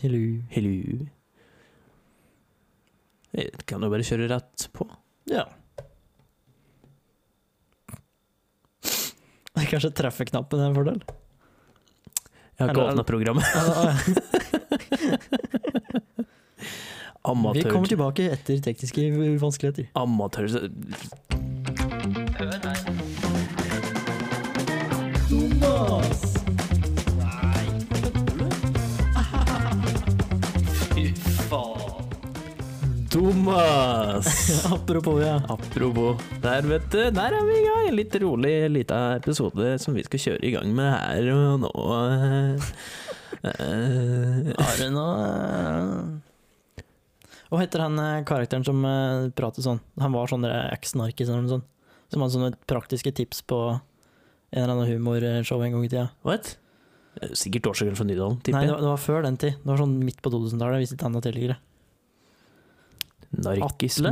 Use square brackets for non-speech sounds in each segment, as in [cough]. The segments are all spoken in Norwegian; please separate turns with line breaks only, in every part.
Hello.
Hello. Jeg kan jo bare kjøre rett på.
Ja. Kanskje treffeknappen er en fordel?
Jeg har ikke
Eller-
åpna programmet.
[laughs] Vi kommer
Amatør.
tilbake etter tekniske vanskeligheter.
Amatør.
[laughs]
Thomas!
Apropos, ja.
Apropos der, vet du. Der er vi i gang. En litt rolig lita episode som vi skal kjøre i gang med her og nå. Eh, eh,
Har du noe eh, Hva heter han eh, karakteren som eh, prater sånn? Han var sånn der eks-narkis eller noe sånt. Som hadde sånne praktiske tips på en eller annen humorshow en gang i tida.
What? eh, Sikkert årsaken fra Nydalen,
Nei,
tipper
det
jeg.
var, det var før den tid. Det var sånn midt på 2000-tallet, hvis ikke enda tidligere.
Narkisme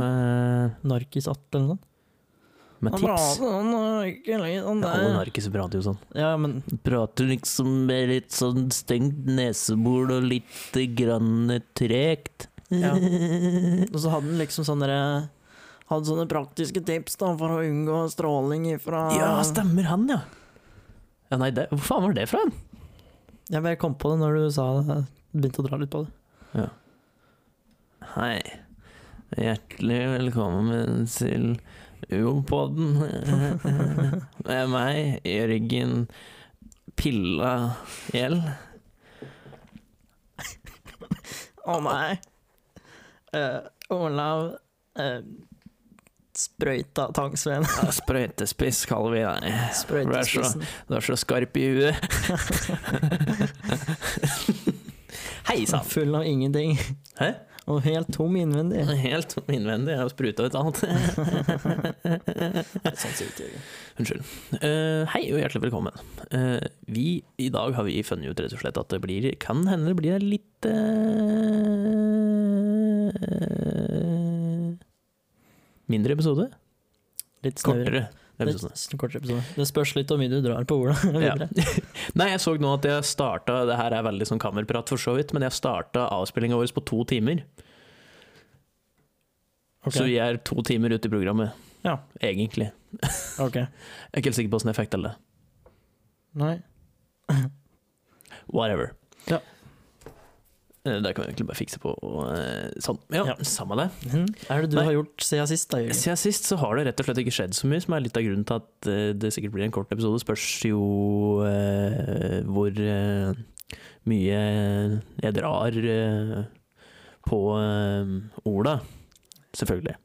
Narkis Atle eller noe sånt.
med tips.
Han prater sånn,
Ja, alle narkiser prater jo sånn.
Ja, men
Prater liksom med litt sånn stengt nesebor og litt grann tregt.
[laughs] Ja. Og så hadde han liksom sånne der- Hadde sånne praktiske tips da for å unngå stråling ifra
Ja, stemmer han, ja. ja nei, det, hvor faen var det fra?
Jeg bare kom på det når du sa det. Jeg Begynte å dra litt på det.
Hei. Hjertelig velkommen til UO-podden. [laughs] Det er meg, Jørgen Pilla Gjell.
Å nei! Eh, Olav eh, Sprøyta Tangsveen.
Sprøytespiss kaller vi deg.
Sprøytespissen.
Du er så skarp i huet. [laughs] Hei sann!
Full av ingenting.
Hæ?
Og helt tom innvendig.
Helt innvendig. Jeg har spruta ut alt. [laughs]
Sånn sier ikke jeg.
Unnskyld. Eh, hei og hjertelig velkommen. Eh, vi, I dag har vi funnet ut rett og slett at det blir, kan hende det blir en litt eh, Mindre episode?
Litt snauere.
Kortere episode.
Litt Kortere episode. Det spørs litt hvor mye du drar på Ola.
Ja.
videre.
Nei, jeg så nå at jeg starta Det her er veldig sånn kammerprat, for så vidt, men jeg starta avspillinga vår på to timer.
Ok.
Så vi er to timer ute i programmet,
Ja.
egentlig.
Ok.
Jeg er ikke helt sikker på åssen effekt det er.
Nei.
Whatever.
Ja.
Eh, Det kan vi egentlig bare fikse på. Og, eh, sånn. Ja,
Ja.
samme det.
Hm? Er det du
Nei.
har gjort siden sist, da, Jørgen?
Siden sist så har det rett og slett ikke skjedd så mye, som er litt av grunnen til at eh, det sikkert blir en kort episode. Spørs jo eh, hvor eh, mye jeg drar eh, på eh, Ola, selvfølgelig.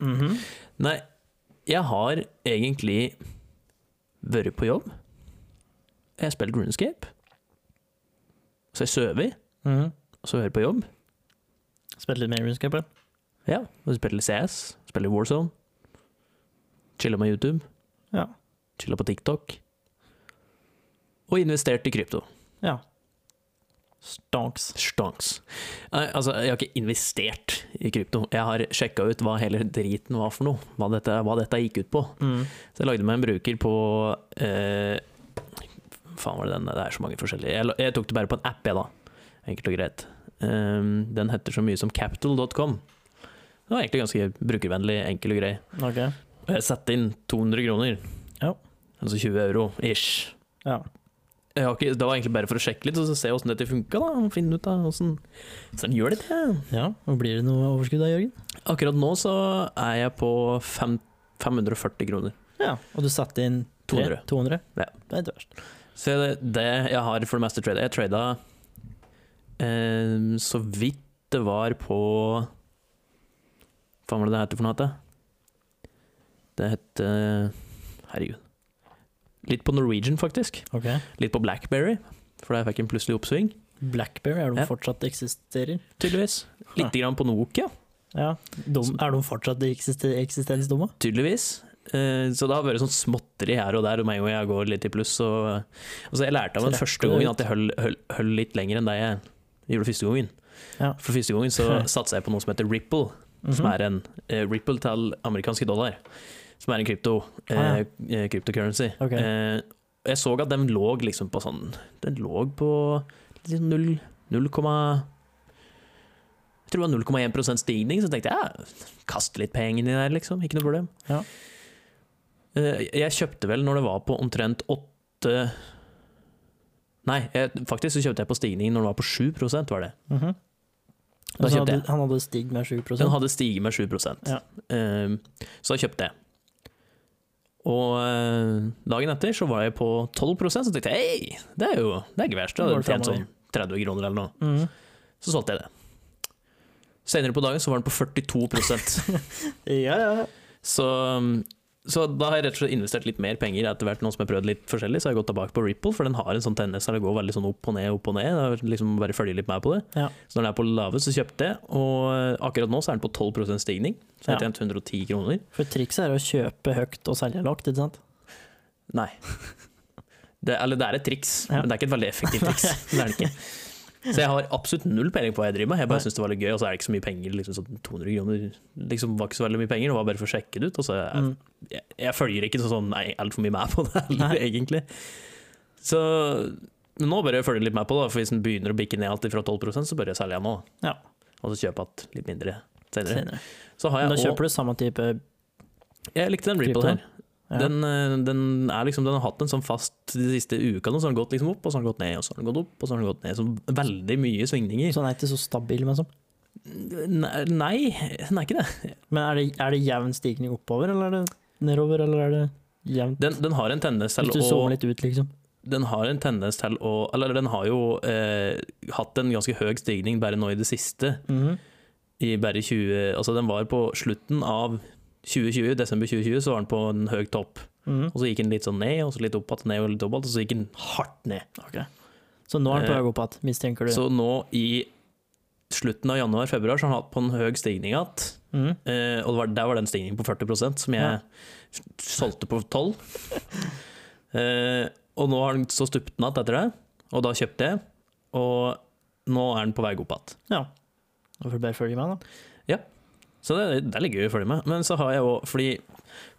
Mhm.
Nei, jeg har egentlig vært på jobb. Jeg har spilt Runescape. Så jeg sover,
Mhm.
og så hører jeg på jobb.
Spilt litt mer RuneScape? eller?
Ja, og spiller litt CS, spiller Warzone. Chilla med YouTube.
Ja.
Chilla på TikTok. Og investert i krypto.
Ja. Stonks.
Stanks. Nei, altså, jeg har ikke investert i krypto. Jeg har sjekka ut hva hele driten var for noe. Hva dette, hva dette gikk ut på.
Mm.
Så jeg lagde meg en bruker på eh, Faen var det den? Det er så mange forskjellige. Jeg, la- jeg tok det bare på en app, jeg, da. Enkelt og greit. Um, den heter så mye som capital.com. Det var egentlig ganske brukervennlig, enkel og grei.
Ok.
Og jeg satte inn 200 kroner.
Ja.
Altså 20 euro ish.
Ja.
Jeg har ikke, det var egentlig bare for å sjekke litt og så se åssen dette funka. da, og Finne ut av åssen sånn gjør det. Ja.
ja. Og blir det noe overskudd da, Jørgen?
Akkurat nå så er jeg på fem, 540 kroner.
Ja. Og du satte inn tre?
200.
200?
Ja.
Det er ikke verst.
Så det, det jeg har for det meste trada Jeg trada eh, så vidt det var på Hva var det det heter for noe? heter? Det het Herregud. Litt på Norwegian, faktisk.
Ok.
Litt på Blackberry, for der fikk jeg en plutselig oppsving,
Blackberry, er de
Ja.
fortsatt eksisterer?
tydeligvis. Litt grann på Nokia,
Ja. Dom, er de fortsatt eksister, eksistensdumme?
tydeligvis. Eh, Så det har vært sånn småtteri her og der, og meg og jeg går litt i pluss. Og, og så jeg lærte av den
Trekker
første
det
gangen
ut.
at jeg høll, høll, høll litt lenger enn det jeg gjorde første gangen.
Ja.
For første gangen
[laughs]
så satsa jeg på noe som heter Ripple,
Mhm.
som er en eh, Ripple til amerikanske dollar. Som er en krypto, eh,
Ah, ja.
eh, cryptocurrency.
Ok.
Eh, og jeg så at den lå liksom på sånn Den lå på liksom null- 0,1 tror det var 0,1 stigning, så tenkte jeg ja, kast litt penger i der, liksom. Ikke noe problem.
Ja.
Eh, Jeg kjøpte vel når det var på omtrent åtte Nei, jeg, faktisk så kjøpte jeg på stigning når det var på 7 var det.
Mhm.
Da
Altså,
kjøpte jeg.
hadde- Han hadde stig med 7
Den hadde stiget med 7
Ja.
Ehm, Så jeg kjøpte det. Og eh, dagen etter så var jeg på 12 så tenkte jeg hei, det er jo det er ikke verst. Jeg
Da går
hadde
det
tjent
fremover.
sånn 30 kroner eller noe.
Mhm.
Så solgte jeg det. Senere på dagen så var den på 42
Ja, ja.
så, så da har jeg rett og slett investert litt mer penger etter hvert, nå som jeg har prøvd litt forskjellig. Så har jeg gått tilbake på Ripple, for den har en sånn tendens der det går veldig sånn opp og ned, opp og ned. Jeg har liksom bare følger litt med på det.
Ja.
Så når den er på lave, så kjøpte jeg, og eh, akkurat nå så er den på 12 stigning. Så jeg har
Ja.
tjent 110 kroner.
For trikset er å kjøpe høyt og selge lavt, ikke sant? [laughs]
Nei. Det, eller det er et triks,
Ja.
men det er ikke et veldig effektivt triks.
[laughs]
det er det ikke. Så jeg har absolutt null peiling på hva jeg driver med. Jeg bare
Nei.
syns det var litt gøy, og så er det ikke så mye penger. Liksom, sånn 200 kroner liksom, var ikke så veldig mye penger, det var bare for å sjekke det ut. Og så er jeg,
Mm.
jeg, jeg følger ikke så sånn nei, altfor mye med på det heller,
Nei.
[laughs] egentlig. Så men nå bør jeg følge litt med på det, for hvis den begynner å bikke ned alt fra 12 så bør jeg selge nå.
Ja.
Og så kjøpe igjen litt mindre senere.
Senere.
Så har
Men
jeg
Da
også-
kjøper du samme type
jeg likte den Ripple
Krypto.
her.
Ja.
Den, eh, den, er liksom, den har hatt en sånn fast de siste ukene, og så har den gått liksom opp, og så har den gått ned, og så har den gått opp, og så har den gått ned. Så veldig mye svingninger.
Så den er ikke så stabil, men sånn.
Nei, nei, den er ikke det.
Men er det, er det jevn stigning oppover, eller er det nedover, eller er det jevnt?
Den, den har en tendens til
Hvis du
å
zoomer litt ut, liksom.
Den har en tendens til å Eller den har jo eh, hatt en ganske høy stigning bare nå i det siste.
Mhm.
I bare 20 Altså, den var på slutten av 2020, desember 2020, så var den på en høy topp.
Mhm.
Og så gikk den litt sånn ned, og så litt opp igjen, ned og litt opp igjen, og så gikk den hardt ned.
Så nå er den på
Eh,
vei opp igjen, mistenker du.
Så nå i slutten av januar-februar så har han hatt på en høy stigning igjen.
Mhm.
Eh, og det var, der var den stigningen på 40 som jeg
Ja.
s- solgte på 12 eh, Og nå har den så stupte den igjen etter det, og da kjøpte jeg. Og nå er den på vei opp igjen.
Ja. Da får du bare følge med, da.
Så det, det er litt gøy å følge med. Men så har jeg òg Fordi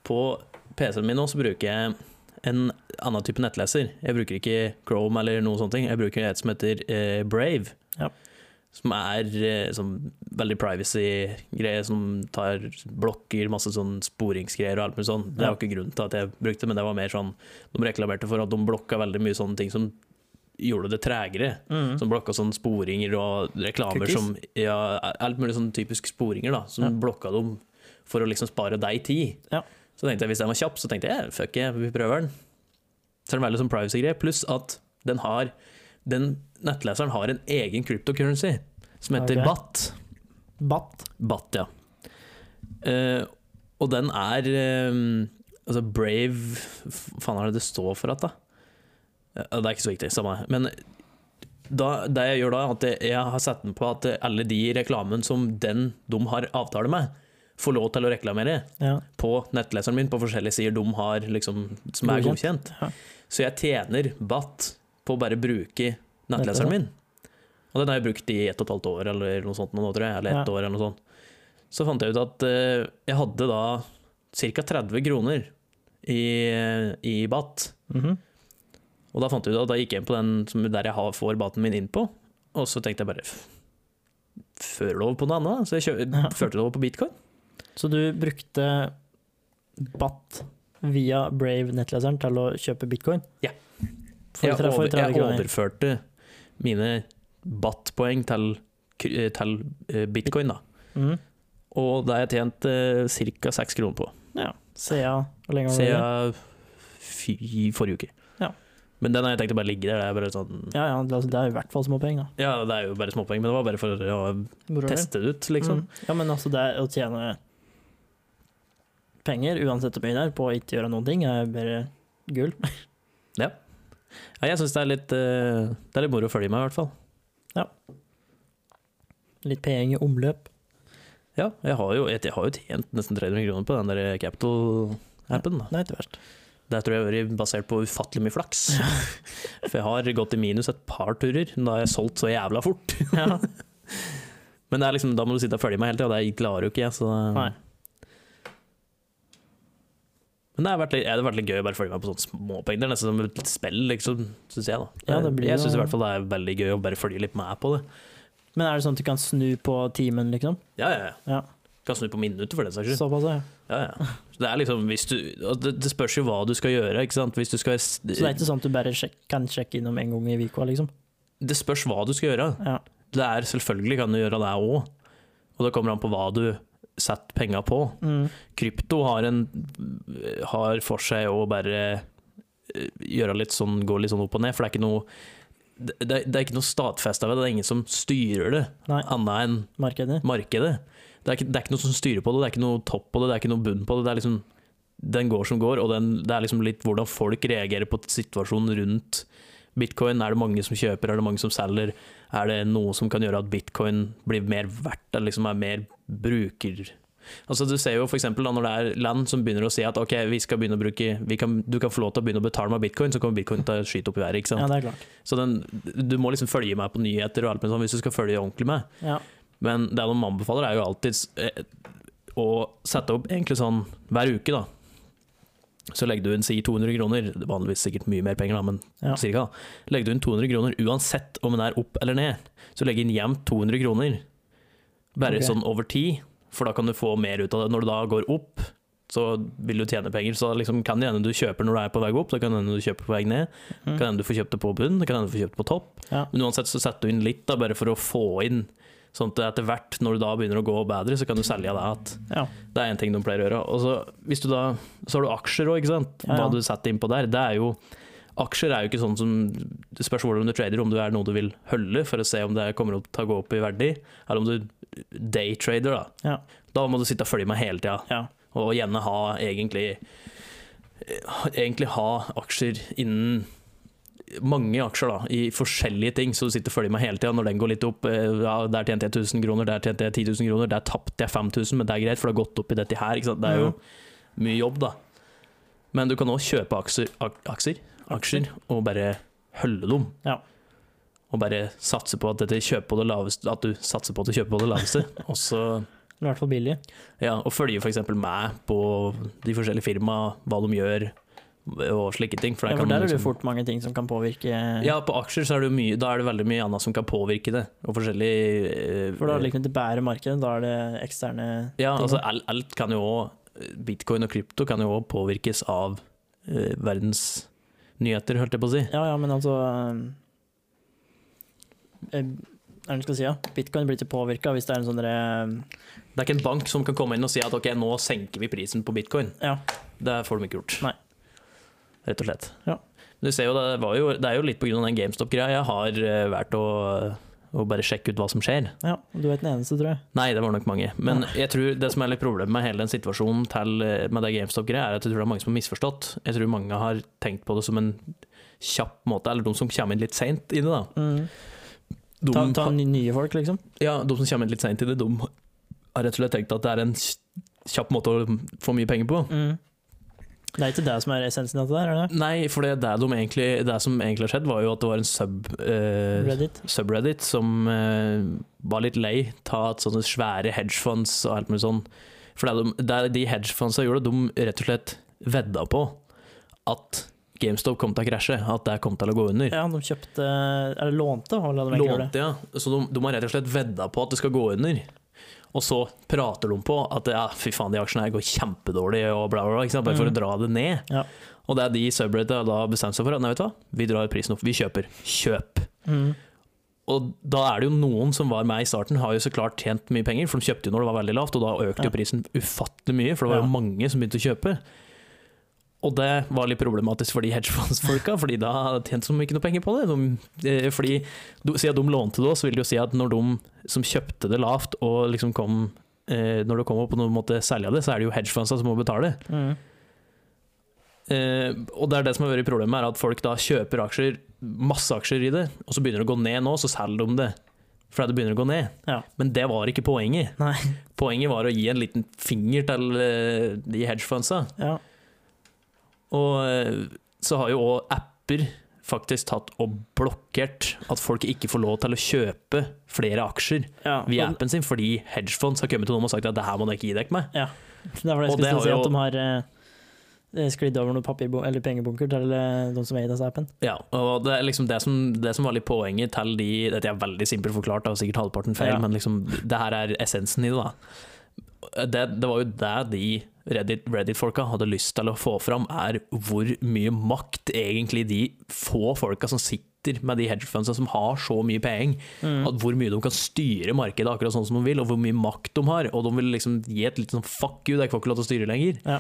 på PC-en min nå så bruker jeg en annen type nettleser. Jeg bruker ikke Chrome eller noe sånt. Jeg bruker et som heter eh, Brave.
Ja.
Som er eh, sånn veldig privacy-greie, som tar blokker, masse sånn sporingsgreier og alt mulig sånn. Det er jo ikke grunnen til at jeg brukte det, men det var mer sånn De reklamerte for at de blokka veldig mye sånne ting som gjorde det tregere.
Mhm.
Som blokka sånne sporinger og reklamer
Cookies?
som ja, Alt mulig sånn typisk sporinger, da, som
Ja.
blokka dem for å liksom spare deg tid.
Ja.
Så tenkte jeg hvis den var kjapp, så tenkte jeg "Eh, fuck it, vi prøver den. Så er det veldig sånn privacy-greie, pluss at den har den nettleseren har en egen cryptocurrency som heter
Ok.
BAT.
Batt.
BAT, ja. Eh, og den er eh, Altså Brave Hva faen er det det står for at, da? Eh, Det er ikke så viktig, samme det. Men da, det jeg gjør da, er at jeg- jeg har satt den på at alle de reklamen som den de har avtale med, får lov til å reklamere
Ja.
på nettleseren min på forskjellige sider de har liksom, som er
Godkjent.
godkjent. Så jeg tjener BAT på å bare bruke nettleseren min. Og den har jeg brukt i ett og et halvt år eller noe sånt, nå, tror jeg, eller ett
Ja.
år eller noe sånt. Så fant jeg ut at eh, jeg hadde da ca. 30 kroner i, i BAT.
Mhm.
Og da fant jeg ut at da gikk jeg inn på den som der jeg har, får baten min inn på, og så tenkte jeg bare f- Fører det over på noe annet? Så jeg kjø
Ja.
førte det over på bitcoin.
Så du brukte Batt via Brave-nettleseren til å kjøpe bitcoin?
Ja.
For
Jeg,
tre- for
over,
30
jeg
kroner.
overførte mine BAT-poeng til, kry- til eh, bitcoin, da.
Mhm.
Og det har jeg tjent eh, ca. seks kroner på
Sea, hvor lenge har du det?
siden fy- forrige uke.
Ja.
Men den har jeg tenkt å bare ligge der. Det er, bare sånn, ja.
Ja, ja, det er- det er i hvert fall småpenger. da.
det er jo bare småpoeng, men det var bare for å
Moro, det.
teste det ut, liksom.
Mm. Ja, men altså, det er å tjene penger, uansett hvor mye det er, på å ikke gjøre noen ting, er bare gull.
Ja, jeg syns det, er litt, eh, det er litt moro å følge med, i hvert fall.
Litt penger i omløp.
Ja, jeg har jo, jeg har jo tjent nesten 300 kroner på den der Capital-appen. da.
Det er ikke verst.
Det tror jeg har vært basert på ufattelig mye flaks. For jeg har gått i minus et par turer. Da har jeg solgt så jævla fort.
Ja.
Men det er liksom, da må du sitte og følge meg hele tida, det klarer jo ikke jeg. Så
Nei.
Men det har vært litt, det har vært litt gøy å bare følge meg på sånne småpenger. Det er nesten som et spill, liksom, syns jeg. da
Ja, det blir
Jeg
jo-
syns i hvert fall det er veldig gøy å bare følge litt med på det.
Men er det sånn at du kan snu på timen, liksom?
Ja, ja, ja.
Ja.
Kan snu på minuttet for den saks skyld.
Såpass, ja.
Ja, ja. Så Det, er liksom, hvis du, og det, det spørs jo hva du skal gjøre. Ikke sant? Hvis du skal,
Så det er ikke sånn at du bare sjek kan sjekke innom en gang i uka, liksom?
det spørs hva du skal gjøre.
Ja.
Det er Selvfølgelig kan du gjøre det òg, og det kommer an på hva du setter penga på.
Mm.
Krypto har, en, har for seg å bare eh, gjøre litt sånn, gå litt sånn opp og ned, for det er ikke noe det, det er- det er ikke noe stadfesta ved det, det er ingen som styrer det,
Nei,
annet enn
markedet.
markedet. Det er, ikke, det er ikke noe som styrer på det, det er ikke noe topp på det, det er ikke noe bunn på det. det er liksom, den går som går, og den, det er liksom litt hvordan folk reagerer på situasjonen rundt bitcoin. Er det mange som kjøper, er det mange som selger? Er det noe som kan gjøre at bitcoin blir mer verdt, eller liksom er mer bruker... Altså Du ser jo for eksempel da når det er land som begynner å si at ok, vi skal begynne å bruke vi kan, du kan få lov til å begynne å betale med bitcoin, så kommer bitcoin til å skyte opp i været. ikke sant?
Ja, det er klart.
Så den, Du må liksom følge med på nyheter og alt mulig sånn hvis du skal følge ordentlig med.
Ja.
Men det de anbefaler er jo alltid eh, å sette opp egentlig sånn hver uke, da. Så legger du inn si 200 kroner, det er vanligvis sikkert mye mer penger, da, men
Ja.
cirka. Legger du inn 200 kroner uansett om den er opp eller ned, så legg inn jevnt 200 kroner. Bare
Ok.
sånn over tid, for da kan du få mer ut av det. Når du da går opp, så vil du tjene penger. Så liksom kan det hende du kjøper når du er på vei opp, det kan hende du kjøper på vei ned.
Mm.
Kan hende du får kjøpt det på bunn, kan hende du får kjøpt på topp.
Ja.
Men uansett så setter du inn litt, da, bare for å få inn. Sånn at etter hvert, når du da begynner å gå bedre, så kan du selge deg at
Ja.
det er en ting de pleier å gjøre. Og så, hvis du da, så har du aksjer òg, ikke sant.
Ja, ja.
Hva du setter innpå der. Det er jo Aksjer er jo ikke sånn som Det spørs hvordan du trader, om du er noe du vil holde for å se om det kommer opp til å gå opp i verdi, eller om du daytrader, da.
Ja.
Da må du sitte og følge med hele tida.
Ja.
Og gjerne ha egentlig eh, Egentlig ha aksjer innen mange aksjer da, i forskjellige ting, så du sitter og følger med hele tida. Når den går litt opp, eh, ja, der tjente jeg 1000 kroner, der tjente jeg 10 000 kroner, der tapte jeg 5000, men det er greit, for det har gått opp i dette her. Ikke sant? Det er jo
Mhm.
mye jobb, da. Men du kan òg kjøpe aksjer, ak aksjer, aksjer og bare holde dem.
Ja.
Og bare satse på at, dette kjøper på det laveste, at du satser på at du kjøper på det
[laughs]
laveste. og så
I hvert fall billig.
ja, og følge for eksempel meg på de forskjellige firma, hva de gjør og slike ting. For
Ja,
der,
for
kan man
der er det
liksom,
fort eh. mange ting som kan påvirke
ja, på aksjer så er det jo mye, da er det veldig mye annet som kan påvirke det. Og forskjellig eh,
For da er det liksom det bærer markedet, da er det eksterne
Ja,
ting.
altså alt, alt kan jo også Bitcoin og krypto kan jo også påvirkes av eh, verdens nyheter, holdt jeg på å si.
Ja, ja, men altså eh, eh, Hva er det jeg skal si? Ja? Bitcoin blir ikke påvirka hvis det er en sånn derre
Det er ikke en bank som kan komme inn og si at ok, nå senker vi prisen på bitcoin.
Ja.
Det får de ikke gjort.
Nei.
Rett og slett.
Ja.
Men Du ser jo, det, var jo, det er jo litt pga. den GameStop-greia. Jeg har eh, valgt å, å bare sjekke ut hva som skjer.
Ja, du er den eneste, tror jeg.
Nei, det var nok mange. Men jeg tror det som er litt problemet med hele den situasjonen til, eh, med det GameStop-greia, er at jeg tror det er mange som har misforstått. Jeg tror mange har tenkt på det som en kjapp måte, eller de som kommer inn litt seint i det. da.
Mm.
De,
Ta, ta ny- nye folk, liksom.
ja, de som kommer inn litt seint i det, de har rett og slett tenkt at det er en kjapp måte å få mye penger på.
Mm. Det er ikke det som er essensen av det der, er det?
Nei, for det, det, de egentlig, det som egentlig har skjedd, var jo at det var en sub, eh,
Reddit.
subreddit som eh, var litt lei av at sånne svære hedgefonds og alt mulig sånn For det, de, det de hedgefondsa gjorde, de rett og slett vedda på at GameStop kom til å krasje, at det kom til å gå under.
Ja, de kjøpte Eller lånte, hva la de egentlig gjøre det?
Lånte, ja. Så de, de har rett og slett vedda på at det skal gå under. Og så prater de på at ja, fy faen, de aksjene her går kjempedårlig, og bla, bla, bla. Ikke sant? Bare for
Mm.
å dra det ned.
Ja.
Og det er de subreddita da bestemte seg for at nei, vet du hva, vi drar prisen opp, vi kjøper. Kjøp.
Mm.
Og da er det jo noen som var med i starten, har jo så klart tjent mye penger, for de kjøpte jo når det var veldig lavt, og da økte
Ja.
jo prisen ufattelig mye, for det var jo
Ja.
mange som begynte å kjøpe. Og det var litt problematisk for de hedgefondsfolka, fordi da tjente de ikke noe penger på det. De, eh, fordi du- Siden de lånte det, så vil det jo si at når de som kjøpte det lavt, og liksom kom eh, Når det kom opp og noen måtte selge det, så er det jo hedgefondsa som må betale.
Mm.
Eh, og det er det som har vært problemet, er at folk da kjøper aksjer, masse aksjer i det, og så begynner det å gå ned nå, så selger de det. Fordi det begynner å gå ned.
Ja.
Men det var ikke poenget.
Nei.
Poenget var å gi en liten finger til eh, de hedgefondsa.
Ja.
Og eh, så har jo òg apper faktisk tatt og blokkert at folk ikke får lov til å kjøpe flere aksjer
ja.
via
og-
appen sin, fordi hedgefonds har kommet til noen og sagt at det her må dere ikke gi dere med.
Det er for det jeg
Og
skulle
det
til å si,
har
at
jo-
de har eh, eh, sklidd over noen papirbo- eller pengebunker til eh, de som eier disse appen.
Ja, og det er liksom det som, det som var litt poenget til de Dette er veldig simpelt forklart, da, og sikkert halvparten feil,
Ja.
men liksom, det her er essensen i det. da. Det, det var jo det de Reddit- Reddit-folka hadde lyst til å få fram, er hvor mye makt egentlig de få folka som sitter med de hedgefundsa som har så mye penger,
Mm.
at hvor mye de kan styre markedet akkurat sånn som de vil, og hvor mye makt de har. Og de vil liksom gi et litt sånn fuck you, det er ikke folk lov til å styre lenger.
Ja.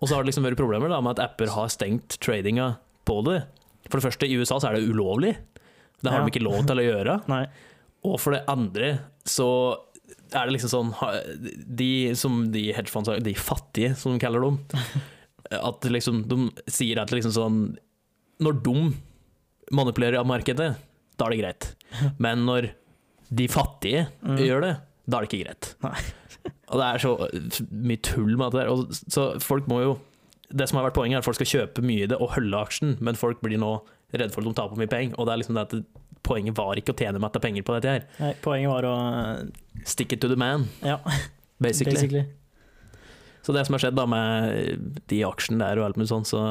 Og så har det liksom vært problemer da, med at apper har stengt tradinga på det. For det første, i USA så er det ulovlig. Det har
Ja.
de ikke lov til å gjøre.
[laughs] Nei.
Og for det andre så er det liksom sånn ha- De som de hedgefondsa De fattige, som de kaller dem.
[laughs]
At liksom, de sier at liksom sånn Når de manipulerer av markedet, da er det greit. Men når de fattige
Mm.
gjør det, da er det ikke greit.
Nei.
[laughs] Og det er så mye tull med det der. Og så folk må jo Det som har vært poenget, er at folk skal kjøpe mye i det og holde aksjen, men folk blir nå redde for at de taper mye penger. Og det er liksom det at det- poenget var ikke å tjene matte penger på dette her.
Nei, poenget var å
Stick it to the man,
eh, Ja,
basically.
basically.
Så det som har skjedd da med de aksjene der og alt mulig sånn, så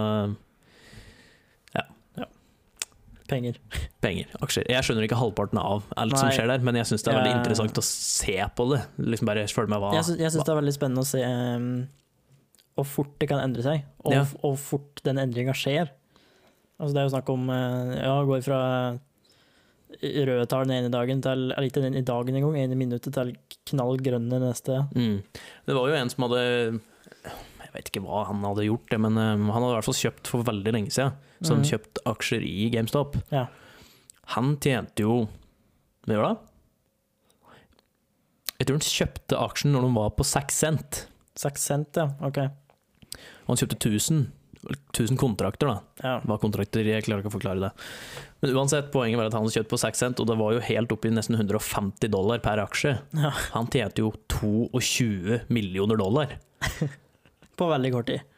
Penger.
penger, aksjer. Jeg skjønner ikke halvparten av alt som
Nei.
skjer der, men jeg syns det er veldig
Ja.
interessant å se på det. Liksom bare følge med hva
Jeg syns, jeg syns det er veldig spennende å se eh, hvor fort det kan endre seg, og
Ja.
f- og hvor fort den endringa skjer. Altså, det er jo snakk om eh, Ja, går fra eh, røde tall den ene dagen til eller Ikke den ene dagen engang, ene minuttet til knallgrønne neste.
Mm. Det var jo en som hadde Jeg vet ikke hva han hadde gjort, det, men eh, han hadde i hvert fall kjøpt for veldig lenge siden. Så han
Mm.
kjøpte aksjer i GameStop.
Ja.
Han tjente jo Hva gjør det? Jeg tror han kjøpte aksjen når den var på 6 cent.
Seks cent, ja. Ok.
Og han kjøpte 1000, 1000 kontrakter, da.
Ja.
Hva kontrakter, jeg klarer ikke å forklare det. Men uansett, poenget var at han hadde kjøpt på 6 cent, og det var jo helt oppe i nesten 150 dollar per aksje.
Ja.
Han tjente jo 22 millioner dollar.
På veldig kort tid.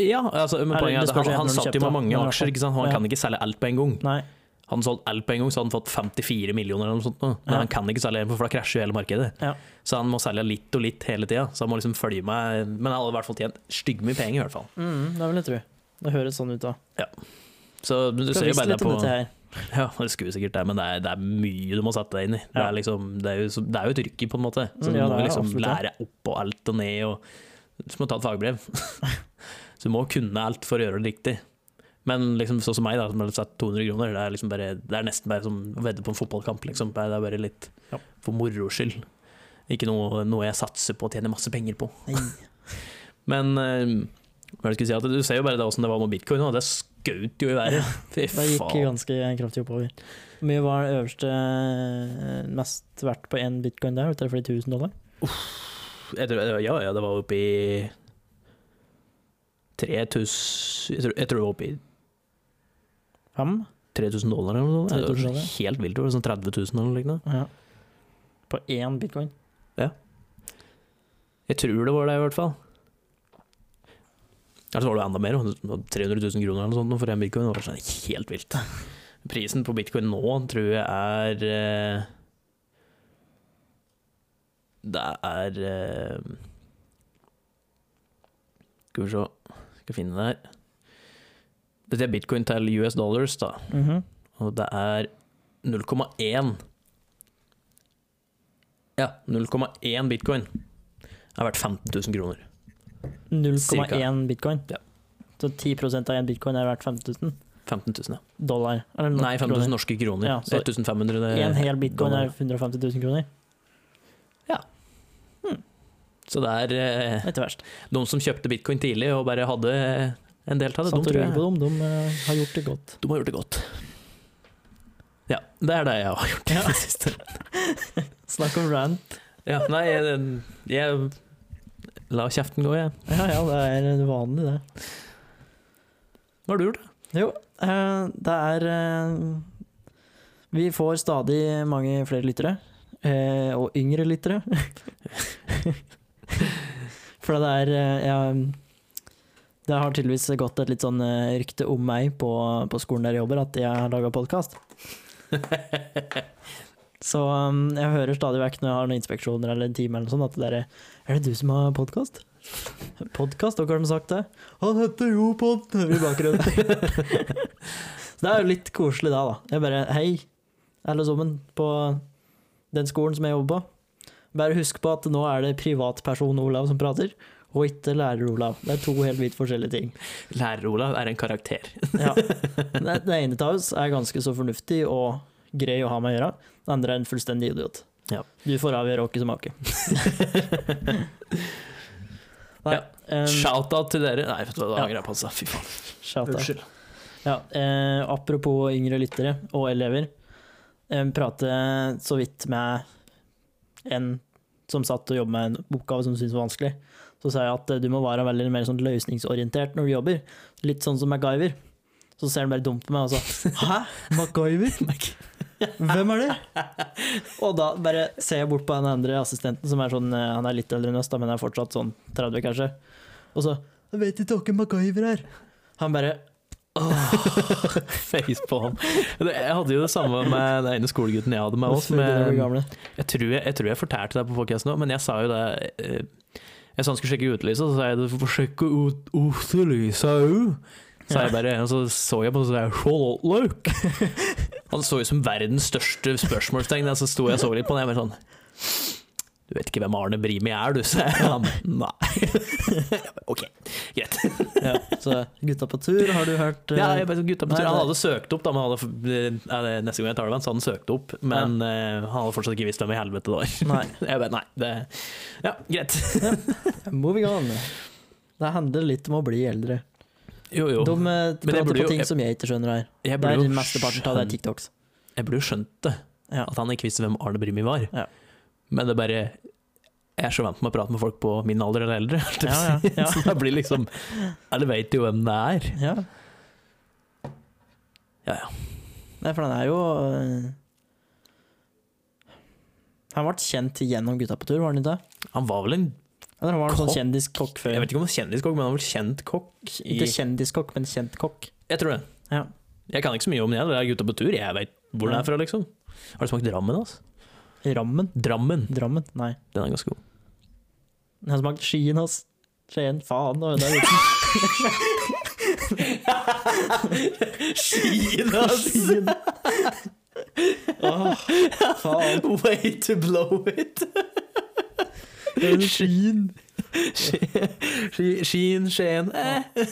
Ja, altså, men
Eller,
poenget
det
er at
spørs
han,
igjen
han
når du
satt
kjøpte,
jo med
da.
mange
Men i hvert
aksjer, ikke sant? han
Ja.
kan ikke selge alt på en gang.
Nei.
Han solgte alt på en gang, så hadde han fått 54 millioner eller noe sånt. nå. Men
Ja.
han kan ikke selge, for da krasjer jo hele markedet.
Ja.
Så han må selge litt og litt hele tida. Så han må liksom følge med. Men han hadde i hvert fall tjent styggmye penger, i hvert fall.
Mm, det vil jeg tro. Det høres sånn ut, da.
Så du
Skal
ser jo
visst
bare
litt
det
om
på
dette her.
[laughs] Ja, det skulle sikkert det, men det er, det er mye du må sette deg inn i. Det,
Ja.
er liksom, det, er jo, så- det er jo et yrke, på en måte. Så
Mm,
du
ja,
må
det er
liksom
absolutt
lære opp og alt og ned. Og, du må ta et
[laughs]
fagbrev. så du må kunne alt for å gjøre det riktig. Men liksom, sånn som meg, da, som har satt 200 kroner, det er, liksom bare, det er nesten bare som å vedde på en fotballkamp. Liksom. Det er bare litt
Ja.
for moro skyld. Ikke noe, noe jeg satser på og tjener masse penger på. [laughs]
Nei.
Men eh, hva er det jeg skulle si, at du ser jo bare det åssen det var med bitcoin, og det skjøt jo i været. Fy
Det gikk
faen.
ganske kraftig oppover. Hvor mye var det øverste eh, mest verdt på én bitcoin der? Var det flere tusen dollar?
jeg tror, ja, ja, det var oppe i 3000 jeg, tror- jeg tror det var oppe i
Fem?
3000 dollar eller noe sånt. Det var
3000 dollar.
Helt vilt. det var Sånn 30 000 eller noe lignende.
Ja. På én bitcoin?
Jeg tror det var det, i hvert fall. Eller så var det enda mer. det var 300 000 kroner eller noe sånt nå for en bitcoin. Det var sånn helt vilt. Prisen på bitcoin nå tror jeg er eh, Det er eh, Skal vi se Skal finne det her. Dette er bitcoin til US dollars, da.
Mhm.
Og det er 0,1 Ja, 0,1 bitcoin er verdt 15 000 kroner.
0,1 bitcoin?
Ja.
Så 10 av én bitcoin er verdt 15 000
15 000, ja.
dollar? Eller no-
Nei, 15
kroner.
000 norske kroner.
Ja, så
1500 det-
En hel bitcoin
dollar.
er 150 000 kroner?
Så det er eh,
Ikke verst.
de som kjøpte bitcoin tidlig og bare hadde en del av det, de,
Satt og
tror
røyk
jeg,
på dem, de eh, har gjort det godt.
de har gjort det godt. Ja, det er det jeg har gjort i [laughs] det siste.
Snakk om rand.
Ja, nei, jeg, jeg la kjeften gå, jeg.
Ja, ja, det er vanlig, det.
Hva har du gjort?
Jo, eh, det er eh, Vi får stadig mange flere lyttere. eh, Og yngre lyttere. [laughs] For det er eh, jeg, Det har tydeligvis gått et litt sånn eh, rykte om meg på, på skolen der jeg jobber, at jeg har laga podkast. Så [laughs] um, jeg hører stadig vekk når jeg har noen inspeksjoner eller en time eller noe sånt, at det er Er det du som har podkast? Podkast, dere har de sagt det? Han heter jo Pod, hører vi i bakgrunnen. så det er jo litt koselig da, da. Jeg bare Hei, alle sammen på den skolen som jeg jobber på. Bare husk på at nå er det privatperson Olav som prater, og ikke lærer Olav. Det er to helt vidt forskjellige ting.
Lærer-Olav er en karakter.
Ja. Det, det ene av oss er ganske så fornuftig og grei å ha med å gjøre. Det andre er en fullstendig idiot.
Ja.
Du får avgjøre åkke som
[laughs]
ake.
Ja. Shout-out til dere. Nei, vet du hva, da angrer jeg på det. Fy faen.
shout out.
Unnskyld.
Ja, eh, apropos yngre lyttere og elever. Eh, prate så vidt med en som satt og jobbet med en oppgave som syntes var vanskelig. Så sa jeg at eh, du må være veldig mer sånn løsningsorientert når du jobber. Litt sånn som MacGyver. Så ser han bare dumt på meg og sa [laughs] Hæ? MacGyver? Hvem er det? Og da bare ser jeg bort på den andre assistenten som er sånn eh, Han er litt eldre enn oss, da, men er fortsatt sånn 30 kanskje. Og så Jeg vet ikke hvem MacGyver er. Han bare
[laughs] Facepalm. Det- Jeg hadde jo det samme med den ene skolegutten jeg hadde med oss.
Hvorfor begynner du å bli
Men
gamle?
jeg, tror jeg, jeg tror jeg fortalte deg på podcasten nå, men jeg sa jo det eh, Jeg sa han skulle sjekke utelyset, og så sa jeg du får sjekke ut utelyset òg. Så jeg bare, og så så jeg på og så sa jeg, «Hello, [laughs] look. Han så ut som verdens største spørsmålstegn, og så sto jeg og så litt på han, og jeg bare sånn Du vet ikke hvem Arne Brimi er, du, sa jeg. Han, Nei. Jeg bare, OK.
Ja, så gutta på tur, har du hørt? eh,
Ja, jeg bare, sånn, gutta på
Nei,
tur. Han
nei.
hadde søkt opp, da, men han hadde, ja, det er neste gang jeg tar det med han, så hadde han søkt opp. Men eh, han hadde fortsatt ikke visst hvem i helvete det var.
Nei.
[laughs] Jeg bare, nei, det Ja, greit.
Moving on. Det handler litt om å bli eldre.
Jo, jo.
De eh,
jeg
prater
burde
på
jo-
ting
jeg-
som jeg ikke skjønner her.
Jeg
Det
burde
er
jo
mesteparten av det er
skjønt-
TikToks.
Jeg burde jo skjønt det,
Ja.
at han ikke visste hvem Arne Brimi var.
Ja.
Men det er bare Jeg er så vant med å prate med folk på min alder eller eldre. [laughs] holdt jeg på å
Ja, ja,
si.
ja.
Så det blir liksom Alle vet jo hvem det er.
Ja.
Ja, ja.
Nei, for den er jo eh, Han ble kjent gjennom Gutta på tur, var han ikke det?
Han var vel en
Eller han var en sånn
Kokk?
kjendiskokk
Jeg
før?
vet ikke om han var kjendiskokk, men han var vel kjent kokk. i-
Ikke kjendiskokk, men kjent kokk.
Jeg tror det.
Ja.
Jeg kan ikke så mye om det. Det er gutta på tur. Jeg vet hvor den
Ja.
er fra, liksom. Har du smakt Drammen? Altså?
Rammen?
Drammen.
Drammen? Nei.
Den er ganske god.
Den har smakt skien hans. Skien, faen. og det er litt-
Skien,
[laughs] Skien. Åh, faen.
[laughs] Way to blow it! [laughs]
Skien.
Ski- Skien, Skien eh. [laughs]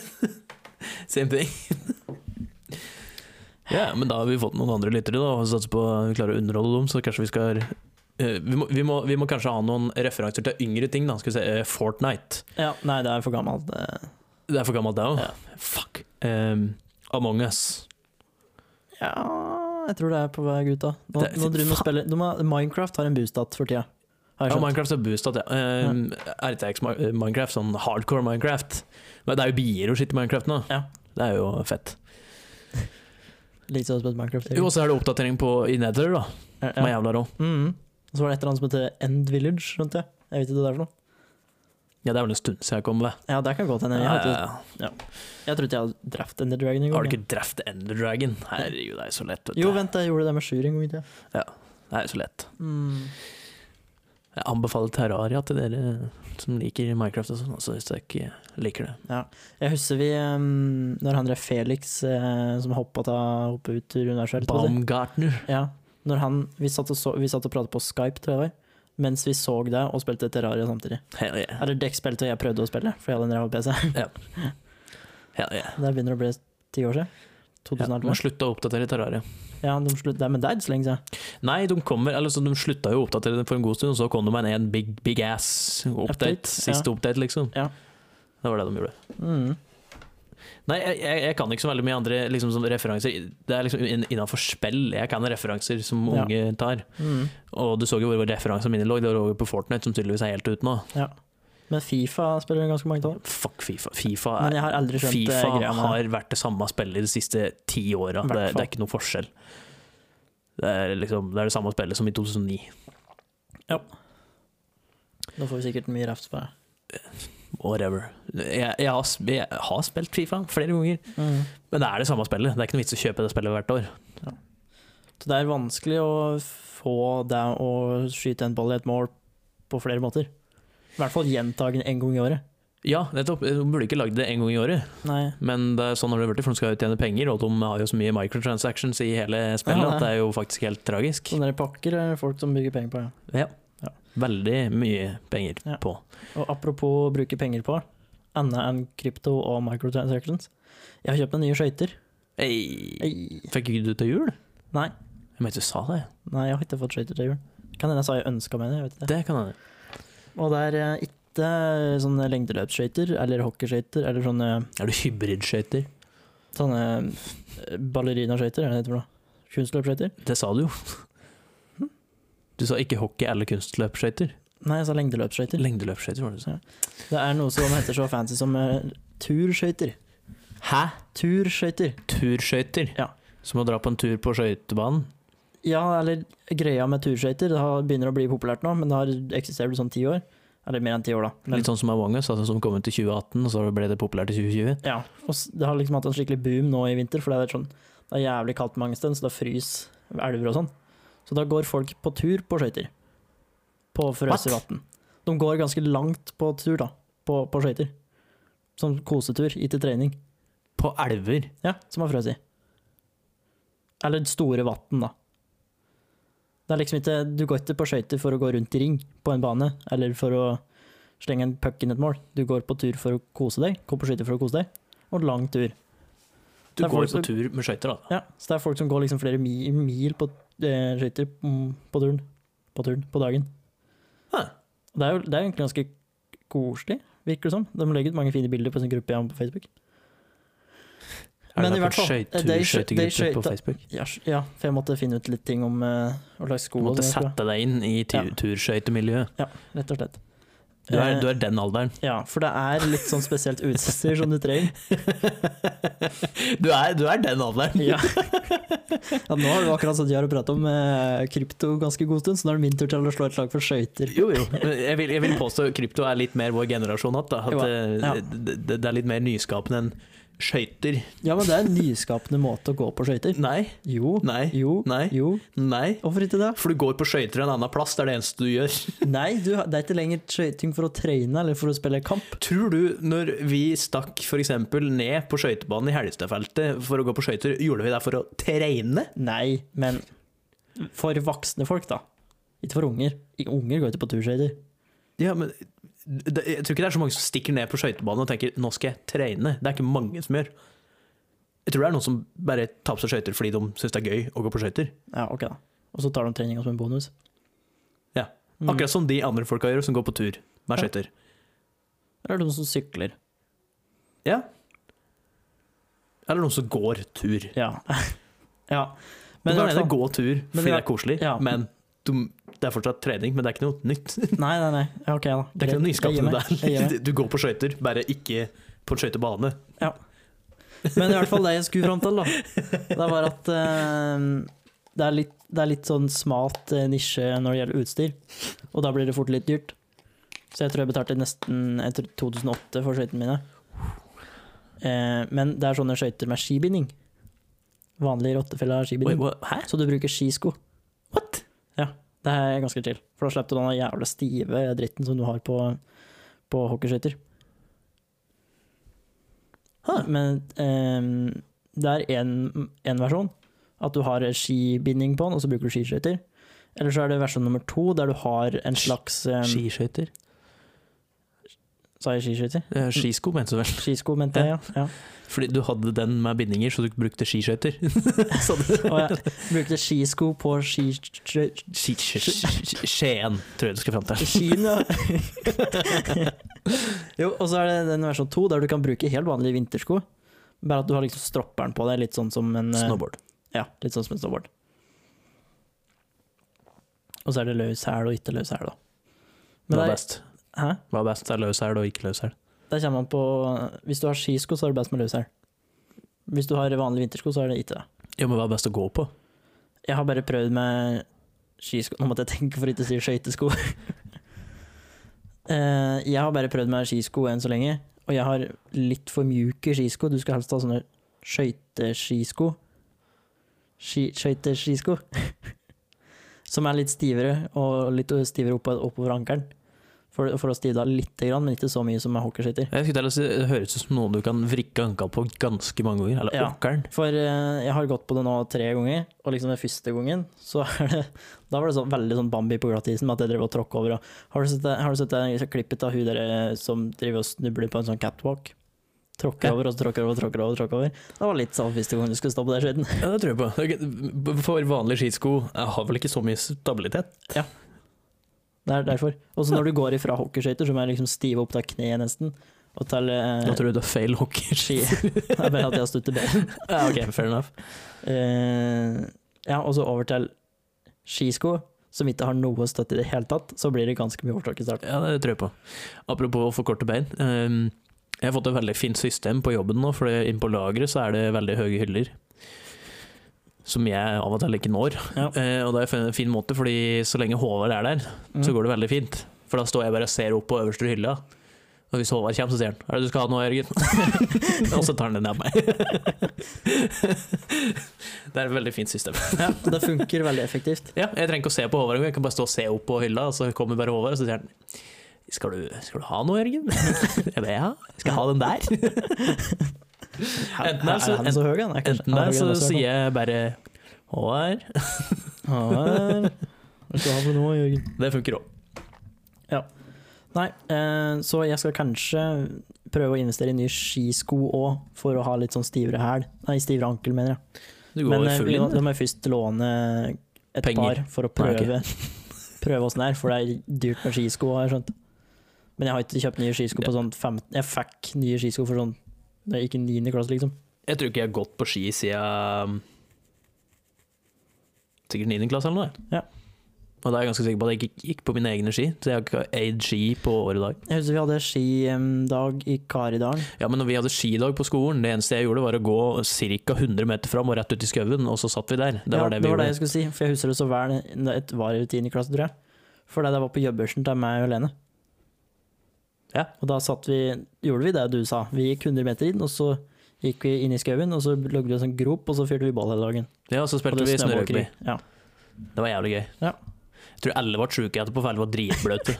Same thing. Ja, men da har vi fått noen andre lyttere, da, og satser på at vi klarer å underholde dem. Så kanskje vi skal eh, vi, må, vi, må, vi må kanskje ha noen referanser til yngre ting, da. Skal vi se eh, Fortnite.
Ja, nei, det er for gammelt. eh.
Det er for gammelt, det òg.
Ja.
Fuck. Um, Among us.
Ja, jeg tror det er på vei, gutta. Nå,
Det-
nå driver vi og
faen.
spiller de har, Minecraft har en boost-at for tida. Har jeg
Ja,
skjønt.
Minecraft er boostet, ja. Ehm, RTX Mi- eh, Minecraft, sånn hardcore Minecraft. Men det er jo bier og shit i Minecraft nå.
Ja.
Det er jo fett.
Litt sånn som et Minecraft.
Jo, Og så er det oppdatering på i Nether, da.
ja,
Som er
ja.
jævla rå.
Mhm. Og Så var det et eller annet som heter End Village, skjønte jeg. Jeg vet ikke hva det er for noe.
Ja, det er vel en stund siden jeg kom med det.
Ja, det kan godt hende. Jeg, har ikke-
Ja,
jeg trodde jeg hadde drept Ender Dragon en
Har du
gang. jeg.
ikke drept Ender Dragon? Herregud, det er så lett. Vet du.
Jo, vent, jeg gjorde det med Sjur en gang i tida.
Det er så lett.
Mm.
Jeg anbefaler Terraria til dere som liker Minecraft og sånn, altså hvis dere ikke liker det.
Jeg husker vi um, Når han der Felix eh, som hoppa ta- hoppa ut til universet
Baumgartner.
Ja, når han, vi, satt og så, vi satt og pratet på Skype, tror jeg det var, mens vi så det og spilte Terraria samtidig.
Hell yeah.
Eller dekk spilte, og jeg prøvde å spille, for jeg hadde en ræva PC.
Hell yeah.
[laughs] Det begynner å bli ti år siden.
Ja, må
2011.
slutte å oppdatere Terraria.
Ja, de slutt, det, men det er ikke så lenge siden.
Nei, de kommer, eller så de slutta jo å oppdatere den for en god stund, og så kom de med en big, big ass
Update,
update. Siste update, liksom.
Ja.
Det var det de gjorde.
Mm.
Nei, jeg, jeg, jeg kan ikke så veldig mye andre liksom, sånne referanser. Det er liksom in- innenfor spill jeg kan referanser som
Ja.
unge tar.
Mm.
Og du så jo hvor referansene mine lå, det var over på Fortnite, som tydeligvis er helt ute nå.
Ja. Men Fifa spiller ganske mange av.
Fuck Fifa. Fifa,
Men
er,
jeg har aldri skjønt eh,
FIFA
greia med det.
har vært det samme spillet de siste ti åra. Det,
Hvertfall.
det er ikke noe forskjell. Det er, liksom, det er det samme spillet som i 2009.
Nå får vi sikkert mye refs på det.
Whatever. Jeg, jeg, har, sp- jeg har spilt Fifa flere ganger.
Mm.
Men det er det samme spillet. Det er ikke noe vits å kjøpe det spillet hvert år.
Så det er vanskelig å få deg å skyte en ball i et mål på flere måter. I hvert fall gjentagende en gang i året.
Ja, nettopp. De burde ikke lagd det en gang i året,
Nei.
men det er sånn har det blitt, for de skal jo tjene penger, og de har jo så mye microtransactions i hele spillet
Ja,
at det er jo faktisk helt tragisk.
Sånne der pakker er det folk som bruker penger på. Ja.
Veldig mye penger
Ja.
på.
Og apropos å bruke penger på, annet enn krypto og microtransactions. Jeg har kjøpt meg nye skøyter.
Ei.
Ei.
Fikk ikke du til jul?
Nei.
Jeg mente du sa det.
Nei, jeg har ikke fått skøyter til jul. Kan hende jeg sa jeg ønska meg det. jeg vet ikke.
Det kan hende.
Og det er eh, ikke sånne lengdeløpsskøyter eller hockeyskøyter eller sånne,
Er du hybridskøyter?
sånne eh, ballerinaskøyter, er det det heter for noe? Kunstløpsskøyter?
Det sa du jo.
Hm?
Du sa ikke hockey eller kunstløpsskøyter.
Nei, jeg sa lengdeløpsskøyter.
Lengdeløpsskøyter, var det du sa.
Det er noe som heter så fancy som eh, turskøyter.
Hæ?
Turskøyter.
Turskøyter?
Ja.
Som å dra på en tur på skøytebanen?
Ja, eller greia med turskøyter. Det har, begynner å bli populært nå, men det har eksistert i sånn ti år. Eller mer enn ti år, da. Men,
Litt sånn som Among us, altså, som kom ut i 2018, og så ble det populært i 2020.
ja, og s- det har liksom hatt en skikkelig boom nå i vinter, for det er, sånn, det er jævlig kaldt mange steder, så da fryser elver og sånn. Så da går folk på tur på skøyter. På frøser
What?
vann. De går ganske langt på tur, da. På, på skøyter. Som kosetur, ikke trening.
På elver.
Ja, som har frøs i. Eller store vann, da. Det er liksom ikke, du går ikke på skøyter for å gå rundt i ring på en bane, eller for å slenge en puck inn et mål. Du går på tur for å kose deg, går på skøyter for å kose deg, og lang tur.
Du
Det er
går
folk
på
som-
tur med skøyter, da.
Ja, så det er folk som går liksom flere mi- mil på eh, skøyter mm, på turen. På turen, på dagen.
Hæ.
Det er jo det er egentlig ganske koselig, virker det som. De legger ut mange fine bilder på sin gruppe jeg har på Facebook.
Er
Men
det
i
da
hvert
på
fall,
skøytur-
de skøy- de
skøytegruppe på
skøyta-
Facebook?
Ja, s- ja, for jeg måtte finne ut litt ting om eh, hva slags sko
Du
og
måtte
sånn jeg skulle
sette deg inn i tu-
Ja.
turskøytemiljøet.
ha, Rett og slett.
Du, er-
Eh,
du er den
[laughs]
alderen.
Ja, for det er litt sånn spesielt utstyr som du [laughs] trenger.
du, er, du er den alderen.
Ja. ja, nå har du akkurat satt Jar og pratet om eh, krypto ganske god stund, så nå er det min tur til å slå et slag for skøyter.
Jo, jo. Men Jeg vil, jeg vil påstå krypto er litt mer vår generasjon hatt. da. At
Jo,
eh,
ja.
det, det, det er litt mer nyskapende enn skøyter.
Ja, men det er en nyskapende måte å gå på skøyter.
Nei,
Jo,
nei,
jo,
nei,
jo.
nei.
Hvorfor ikke det?
For du går på skøyter en annen plass, det er det eneste du gjør.
Nei, du, det er ikke lenger skøyting for å trene eller for å spille kamp.
Tror du når vi stakk f.eks. ned på skøytebanen i Helgestadfeltet for å gå på skøyter, gjorde vi det for å trene?
Nei, men for voksne folk, da. Ikke for unger. I- Unger går ikke på turskøyter.
Ja, men det, Jeg tror ikke det er så mange som stikker ned på skøytebanen og tenker 'nå skal jeg trene'. Det er ikke mange som gjør. Jeg tror det er noen som bare tar på seg skøyter fordi de syns det er gøy å gå på skøyter.
Ja, ok da. Og så tar de treninga som en bonus.
Ja.
Mm.
Akkurat som de andre folka gjør som går på tur med
Ja.
skøyter.
Eller de som sykler.
Ja. Eller noen som går tur.
Ja. [laughs] ja.
Men du
Men i
kan
hvert
gjerne
fall-
gå tur fordi
Men i
det er
hvert-
koselig,
ja.
men du, det er fortsatt trening, men det er ikke noe nytt. Det
Nei, nei, nei. Ja, Ok, da.
er ikke noe
Greit. Jeg gir
nyskapende
meg. Jeg gir
der. [laughs] Du går på skøyter, bare ikke på en skøytebane.
meg. Men i hvert fall det jeg skulle fram til, da. Det var at eh, det, er litt, det er litt sånn smalt eh, nisje når det gjelder utstyr. Og da blir det fort litt dyrt. Så jeg tror jeg betalte nesten jeg tror 2008 for skøytene mine. Eh, men det er sånne skøyter med skibinding. Vanlig rottefella
Oi,
skibinding.
hva? Hæ?
Så du bruker skisko.
What?
Det er ganske chill, for da slipper du den jævla stive dritten som du har på, på hockeyskøyter.
Huh.
Men ehm, det er én versjon, at du har skibinding på den, og så bruker du skiskøyter. Eller så er det versjon nummer to, der du har en
Ski-
slags ehm,
Skiskøyter?
Sa jeg skiskøyter?
Eh, Skisko, mente du vel.
Skisko, mente jeg, ja. ja.
Fordi du hadde den med bindinger, så du brukte skiskøyter. [laughs] Så du-
Og jeg brukte skisko på skiskøyter
Ski- sk- sk- Skien, tror jeg du skal fram til. [laughs]
Kina. jo, og så er det den versjon to, der du kan bruke helt vanlige vintersko. Bare at du har liksom stropperen på deg, litt sånn som en eh,
Snowboard.
Ja, litt sånn som en snowboard. Og så er det løs hæl og ikke løs hæl, da. Men
Hva er
det,
best?
er- hæ?
Hva er best? Er løs hæl og ikke løs hæl?
Der kommer man på Hvis du har skisko, så er det best med løs hæl. Hvis du har vanlige vintersko, så er det ikke det.
Ja, men hva er best å gå på?
Jeg har bare prøvd med skisko Nå måtte jeg tenke for ikke å si skøytesko. [laughs] Eh, jeg har bare prøvd med skisko enn så lenge, og jeg har litt for mjuke skisko. Du skal helst ha sånne skøyteskisko. Ski, skøyteskisko. [laughs] Som er litt stivere, og litt stivere oppå, oppover ankelen. For, for å stide av lite grann, men ikke så mye som med hockeyskytter.
Jeg skulle til å si, Det høres ut som noe du kan vrikke anka på ganske mange ganger. Eller
Ja.
åkeren.
For eh, jeg har gått på det nå tre ganger, og liksom den første gangen, så [laughs] er det Da var det sånn, veldig sånn Bambi på glattisen, med at jeg drev og tråkka over og Har du sett det- har du sett det sånn klippet av hun der eh, som driver og snubler på en sånn catwalk? Tråkker
Ja.
over og så tråkker over og tråkker over. og tråkker over. Det var litt sånn første gang du skulle stå på den skøyten.
Ja, det tror jeg på. Ok, For vanlige skisko jeg har vel ikke så mye stabilitet.
[laughs] Det er derfor. Og så når du går ifra hockeyskøyter, som er liksom stive opp til kneet nesten, og til eh,
Da tror jeg du har feil hockeyski.
Det er bare at [laughs] jeg har stuttet ben.
[laughs] ja, ok, fair enough.
Eh, ja, og så over til skisko, som ikke har noe støtte i det hele tatt, så blir det ganske mye overtråkk i starten.
Ja, det tror jeg på. Apropos å få korte bein. ehm, jeg har fått et veldig fint system på jobben nå, for inn på lageret så er det veldig høye hyller. Som jeg av og til ikke når.
Ja.
Eh, og det er en fin måte, fordi så lenge Håvard er der,
Mm.
så går det veldig fint. For da står jeg bare og ser opp på øverste hylla. Og hvis Håvard kommer, så sier han 'Er det du skal ha nå, Jørgen?' [laughs] og så tar han den av meg. [laughs] det er et veldig fint system.
Ja, det funker veldig effektivt.
Ja, jeg trenger ikke å se på Håvard engang, jeg kan bare stå og se opp på hylla, og så kommer bare Håvard, og så sier han skal du, skal du ha noe, Jørgen? [laughs] Jeg bare, ja, skal jeg ha den
[laughs]
der? Enten
er,
er så-
han så høy, han? Er kanskje-
Enten
han er
der,
høyere
så
enn oss, i
sier jeg bare Håvard.
hvert fall. Ja, vel. Hva skal du ha for noe, Jørgen?
Det funker òg.
Nei, eh, så jeg skal kanskje prøve å investere i nye skisko òg, for å ha litt sånn stivere hæl. Nei, stivere ankel, mener jeg.
Du går
Men eh,
full
vi må-
inn.
da må jeg først låne et
Penger.
par for å
Nei,
prøve
ok.
Prøve åssen det er, for det er dyrt med skisko, har jeg skjønt. Men jeg har ikke kjøpt nye skisko på sånn 15 Jeg fikk nye skisko for sånn da jeg gikk i 9. klasse, liksom.
Jeg tror ikke jeg har gått på ski siden um, sikkert 9. klasse eller noe.
Ja.
Og da er jeg ganske sikker på at jeg ikke gikk på mine egne ski, så jeg har ikke eid ski på året i dag.
Jeg husker vi hadde skidag i Karidalen.
Ja, men når vi hadde skidag på skolen, det eneste jeg gjorde var å gå ca. 100 meter fram og rett ut i skauen, og så satt vi der. Det
Ja,
var det vi
det var
gjorde.
det jeg skulle si, for jeg husker det så vel da jeg var i 10. klasse, tror jeg. Fordi det var på jobbørsen til meg og Helene.
Ja.
Og da satt vi, gjorde vi det du sa. Vi gikk 100 meter inn, og så gikk vi inn i skauen, og så lagde vi en sånn grop, og så fyrte vi ball hele dagen.
Ja, og så
Og
spilte
det
vi
snøvåker
snørugby.
i. Ja.
Det var jævlig gøy.
Ja.
Jeg tror alle ble sjuke etterpå, for alle var
[laughs]
dritbløte.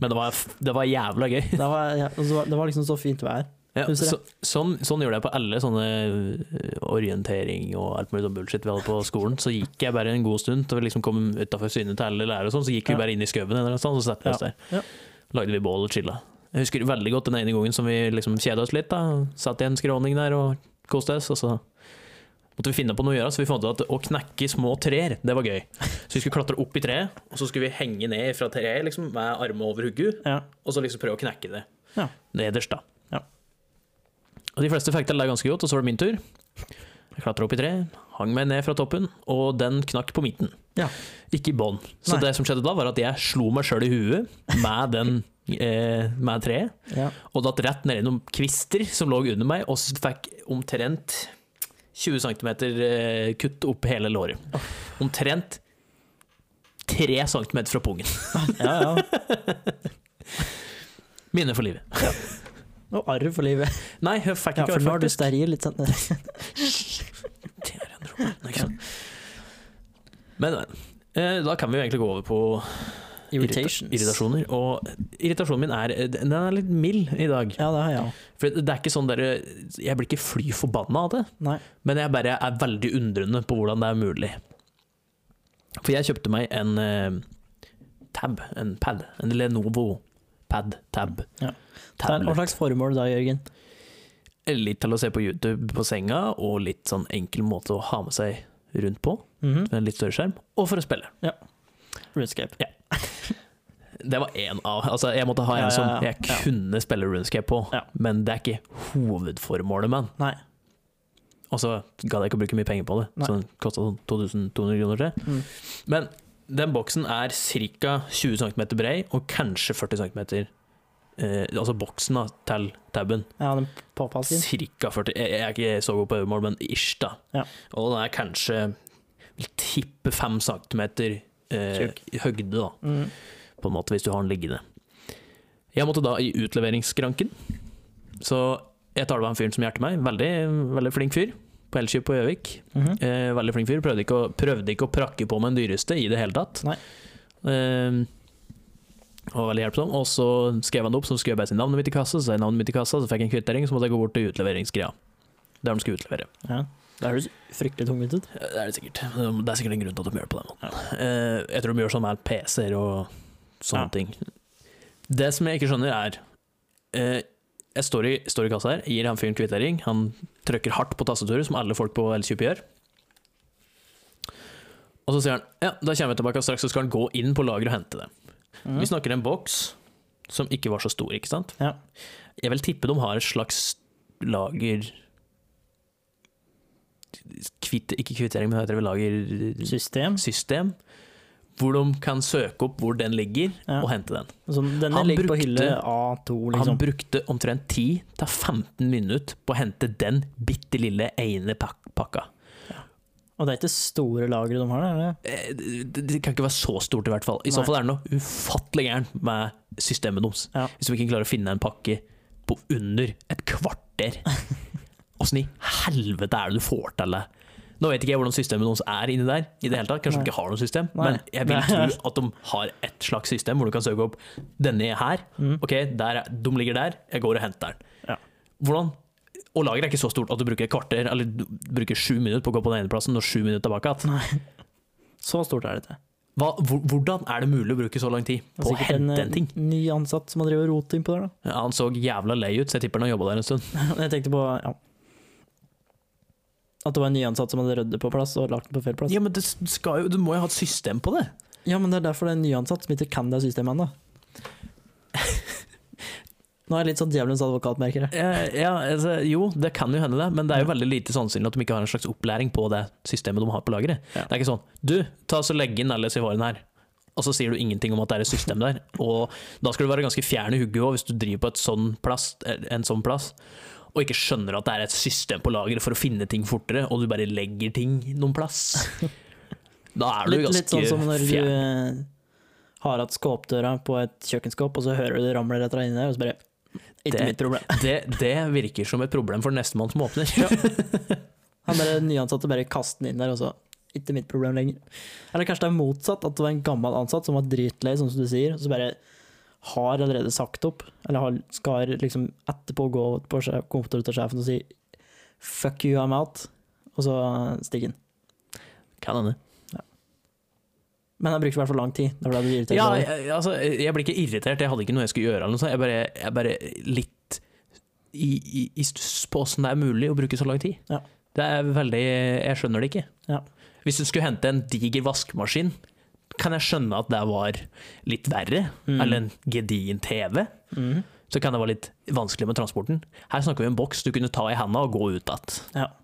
men det var, det var jævla gøy.
Det var, ja, og så var- det var liksom så fint vær.
Ja,
Husker
så,
jeg.
sånn, sånn gjorde jeg på alle sånne ø, orientering og alt mulig sånn bullshit vi hadde på skolen. Så gikk jeg bare en god stund til vi liksom kom utafor synet til alle lærere, og sånn, så gikk
Ja.
vi bare inn i skauen en eller annen sted, og så satte vi oss der.
Ja.
Lagde vi bål og chilla. Jeg husker veldig godt den ene gangen som vi liksom kjeda oss litt. da, Satt i en skråning der og koste oss. og så måtte vi finne på noe å gjøre, så vi fant ut at å knekke små trær, det var gøy. Så vi skulle klatre opp i treet, og så skulle vi henge ned fra treet liksom, med armene over hodet
Ja.
og så liksom prøve å knekke det
Ja.
nederst, da.
Ja.
Og de fleste fikk til det ganske godt, og så var det min tur. Jeg klatra opp i treet, hang meg ned fra toppen, og den knakk på midten.
Ja.
Ikke i bånn. Så
Nei.
det som skjedde da, var at jeg slo meg sjøl i huet med den [laughs] eh, med treet,
Ja.
og datt rett ned i noen kvister som lå under meg, og s- fikk omtrent 20 cm eh, kutt opp hele låret. Omtrent 3 cm fra pungen.
ja, ja.
Minne for livet.
Og arr for livet.
Nei, jeg fikk
Ja,
ikke
for
arr,
nå er du
faktisk.
steril litt sånn.
[laughs] Det er en roman, ikke sant? Men eh, da kan vi jo egentlig gå over på
Irritations.
irrita- irritasjoner. Og irritasjonen min er eh, Den er litt mild i dag.
Ja, det har jeg òg.
For det er ikke sånn der, Jeg blir ikke fly forbanna av det,
Nei.
men jeg bare er veldig undrende på hvordan det er mulig. For jeg kjøpte meg en eh, tab, en pad. En Lenovo pad tab.
Ja. Det er-
Tablet.
Hva slags formål da, Jørgen?
Litt til å se på YouTube på senga, og litt sånn enkel måte å ha med seg rundt på.
Mhm.
med en litt større skjerm, og for å spille.
RuneScape.
Det var én av Altså, jeg måtte ha
Ja,
en
ja,
som
ja.
jeg
Ja.
kunne spille RuneScape på,
Ja.
men det er ikke hovedformålet, man.
Nei.
Og så gadd jeg ikke å bruke mye penger på det,
Nei.
så den kosta sånn 2200 kroner. tror jeg.
Mm.
Men den boksen er ca. 20 cm brei, og kanskje 40 cm eh, Altså boksen da, til taben.
Ja, den påpassen.
Cirka 40 Jeg jeg er ikke så god på øyemål, men ish, da.
Ja.
Og den er kanskje Vil tippe 5 cm eh,
Tjukk.
i høyde, da.
Mm.
på en måte, hvis du har den liggende. Jeg måtte da i utleveringsskranken, så jeg tar det med en fyr som hjelper meg. Veldig, veldig flink fyr på Elkjøp på Gjøvik.
Mhm.
Eh, veldig flink fyr. Prøvde ikke, å, prøvde ikke å prakke på med den dyreste i det hele tatt.
Nei.
Eh, og veldig hjelpsom. Og så skrev han det opp, så skrev jeg bare sin navnet mitt i kassa, så sa jeg navnet mitt i kassa, så fikk jeg en kvittering, så måtte jeg gå bort til utleveringsgreia. Der de skulle utlevere.
Ja. Det høres fryktelig tungvint ut.
Ja, Det er det sikkert. Det er sikkert en grunn til at de gjør det på den måten. Eh, Jeg tror de gjør sånn med PC-er og sånne
Ja.
ting. Det som jeg ikke skjønner, er eh, Jeg står i, står i kassa her, gir han fyren kvittering. Han trykker hardt på tastaturet, som alle folk på L20 gjør. Og så sier han ja, da kommer jeg tilbake straks, så skal han gå inn på lageret og hente det.
Mm.
Vi snakker en boks som ikke var så stor, ikke sant?
Ja.
Jeg vil tippe de har et slags lager Kvitt, Ikke kvittering, men hva heter det? Lagersystem.
System.
Hvor de kan søke opp hvor den ligger,
Ja.
og hente den.
Så denne
Han
ligger på
brukte-
hylle A2,
Han
liksom.
brukte omtrent 10-15 minutter på å hente den bitte lille ene pak pakka.
Og det er ikke store lagre de har der? er det?
Eh, Det det kan ikke være så stort, i hvert fall. I så
Nei.
fall er det noe ufattelig gærent med systemet deres.
Ja.
Hvis de ikke klarer å finne en pakke på under et
[laughs]
kvarter. Åssen i helvete er det du får til det? Nå vet ikke jeg hvordan systemet deres er inni der. I det hele tatt Kanskje
Nei.
de ikke har noe system,
Nei.
men jeg vil
Nei.
tro at de har et slags system hvor du kan søke opp denne er her.
Mm.
Ok, der, er- De ligger der, jeg går og henter den.
Ja.
Hvordan? Og lageret er ikke så stort at du bruker et kvarter Eller du bruker sju minutter på å gå på den ene plassen og sju minutter tilbake igjen.
Så stort er det ikke.
Hva- hvor- Hvordan er det mulig å bruke så lang tid
Det er
på å
sikkert en,
hente
eh,
en ting?
ny ansatt som har drevet og rotet innpå der, da. [laughs]
Ja, han så jævla lei ut, så jeg tipper han har jobba der en stund.
Jeg tenkte på ja. at det var en nyansatt som hadde ryddet på plass og lagt den på feil plass.
Ja, men det skal jo, Du må jo ha et system på det.
Ja, men det er derfor det er en nyansatt som ikke kan det systemet ennå. [laughs] Nå er jeg litt sånn djevelens advokat, merker jeg.
Ja, ja, altså, jo, det kan jo hende, det, men det er jo veldig lite sannsynlig at de ikke har en slags opplæring på det systemet de har på lageret.
Ja.
Det er ikke sånn Du, ta så legg inn alle sivarene her. Og så sier du ingenting om at det er et system der. Og da skal du være ganske fjern i hugget òg, hvis du driver på et sånn plass, en sånn plass og ikke skjønner at det er et system på lageret for å finne ting fortere, og du bare legger ting noen plass. Da er du
Litt, litt
ganske
sånn som når du
fjern.
eh, har hatt skåpdøra på et kjøkkenskap, og så hører du det ramler etter deg inni der, og så bare Ikke
Det-
mitt problem. [laughs]
Det, det virker som et problem for nestemann som åpner.
Han bare nyansatte bare kaster den inn der, og så Ikke mitt problem lenger. Eller kanskje det er motsatt, at det var en gammel ansatt som var dritlei, sånn som du sier, og så bare har allerede sagt opp, eller har, skal liksom etterpå gå på sjef- kontoret til sjefen og si fuck you, I'm out, og så eh, stikker han.
Kan hende.
Men han brukte i hvert fall lang tid. Det ble det sånn. du irritert
Ja,
over.
jeg, altså, jeg ble ikke irritert, jeg hadde ikke noe jeg skulle gjøre. Eller noe, sånt. jeg, bare, jeg bare litt i, i, i stuss på åssen det er mulig å bruke så lang tid.
Ja.
Det er veldig Jeg skjønner det ikke.
Ja.
Hvis du skulle hente en diger vaskemaskin, kan jeg skjønne at det var litt verre.
Mm.
Eller en gedigen TV.
Mhm.
Så kan det være litt vanskelig med transporten. Her snakker vi om en boks du kunne ta i handa og gå ut igjen.
Ja.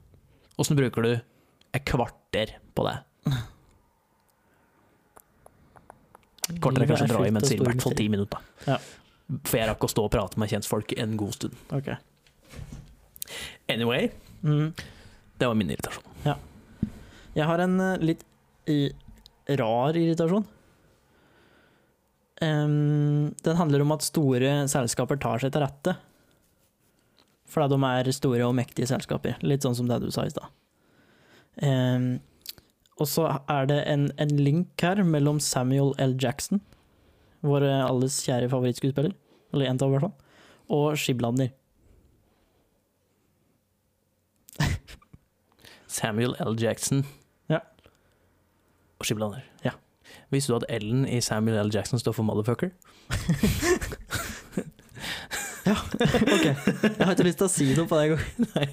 Åssen bruker du et kvarter på det? Kortere
Livet
kanskje
er
dra i,
fylt
men
av
sier i hvert fall
store
ti minutter.
Ja.
For jeg rakk å stå og prate med kjentfolk en god stund.
Ok.
Anyway,
Mhm.
det var min irritasjon.
Jeg har en eh, litt i- rar irritasjon. Em, den handler om at store selskaper tar seg til rette. Fordi de er store og mektige selskaper. Litt sånn som det du sa i stad. Em, og så er det en, en link her mellom Samuel L. Jackson, vår eh, alles kjære favorittskuespiller, eller en av i hvert fall, og Skibladner. [laughs]
Samuel L. Jackson
Ja.
og Skiblander.
Ja.
Visste du at L-en i Samuel L. Jackson står for motherfucker?
Ja, ok. Jeg har ikke lyst til å si noe på det engang. Nei.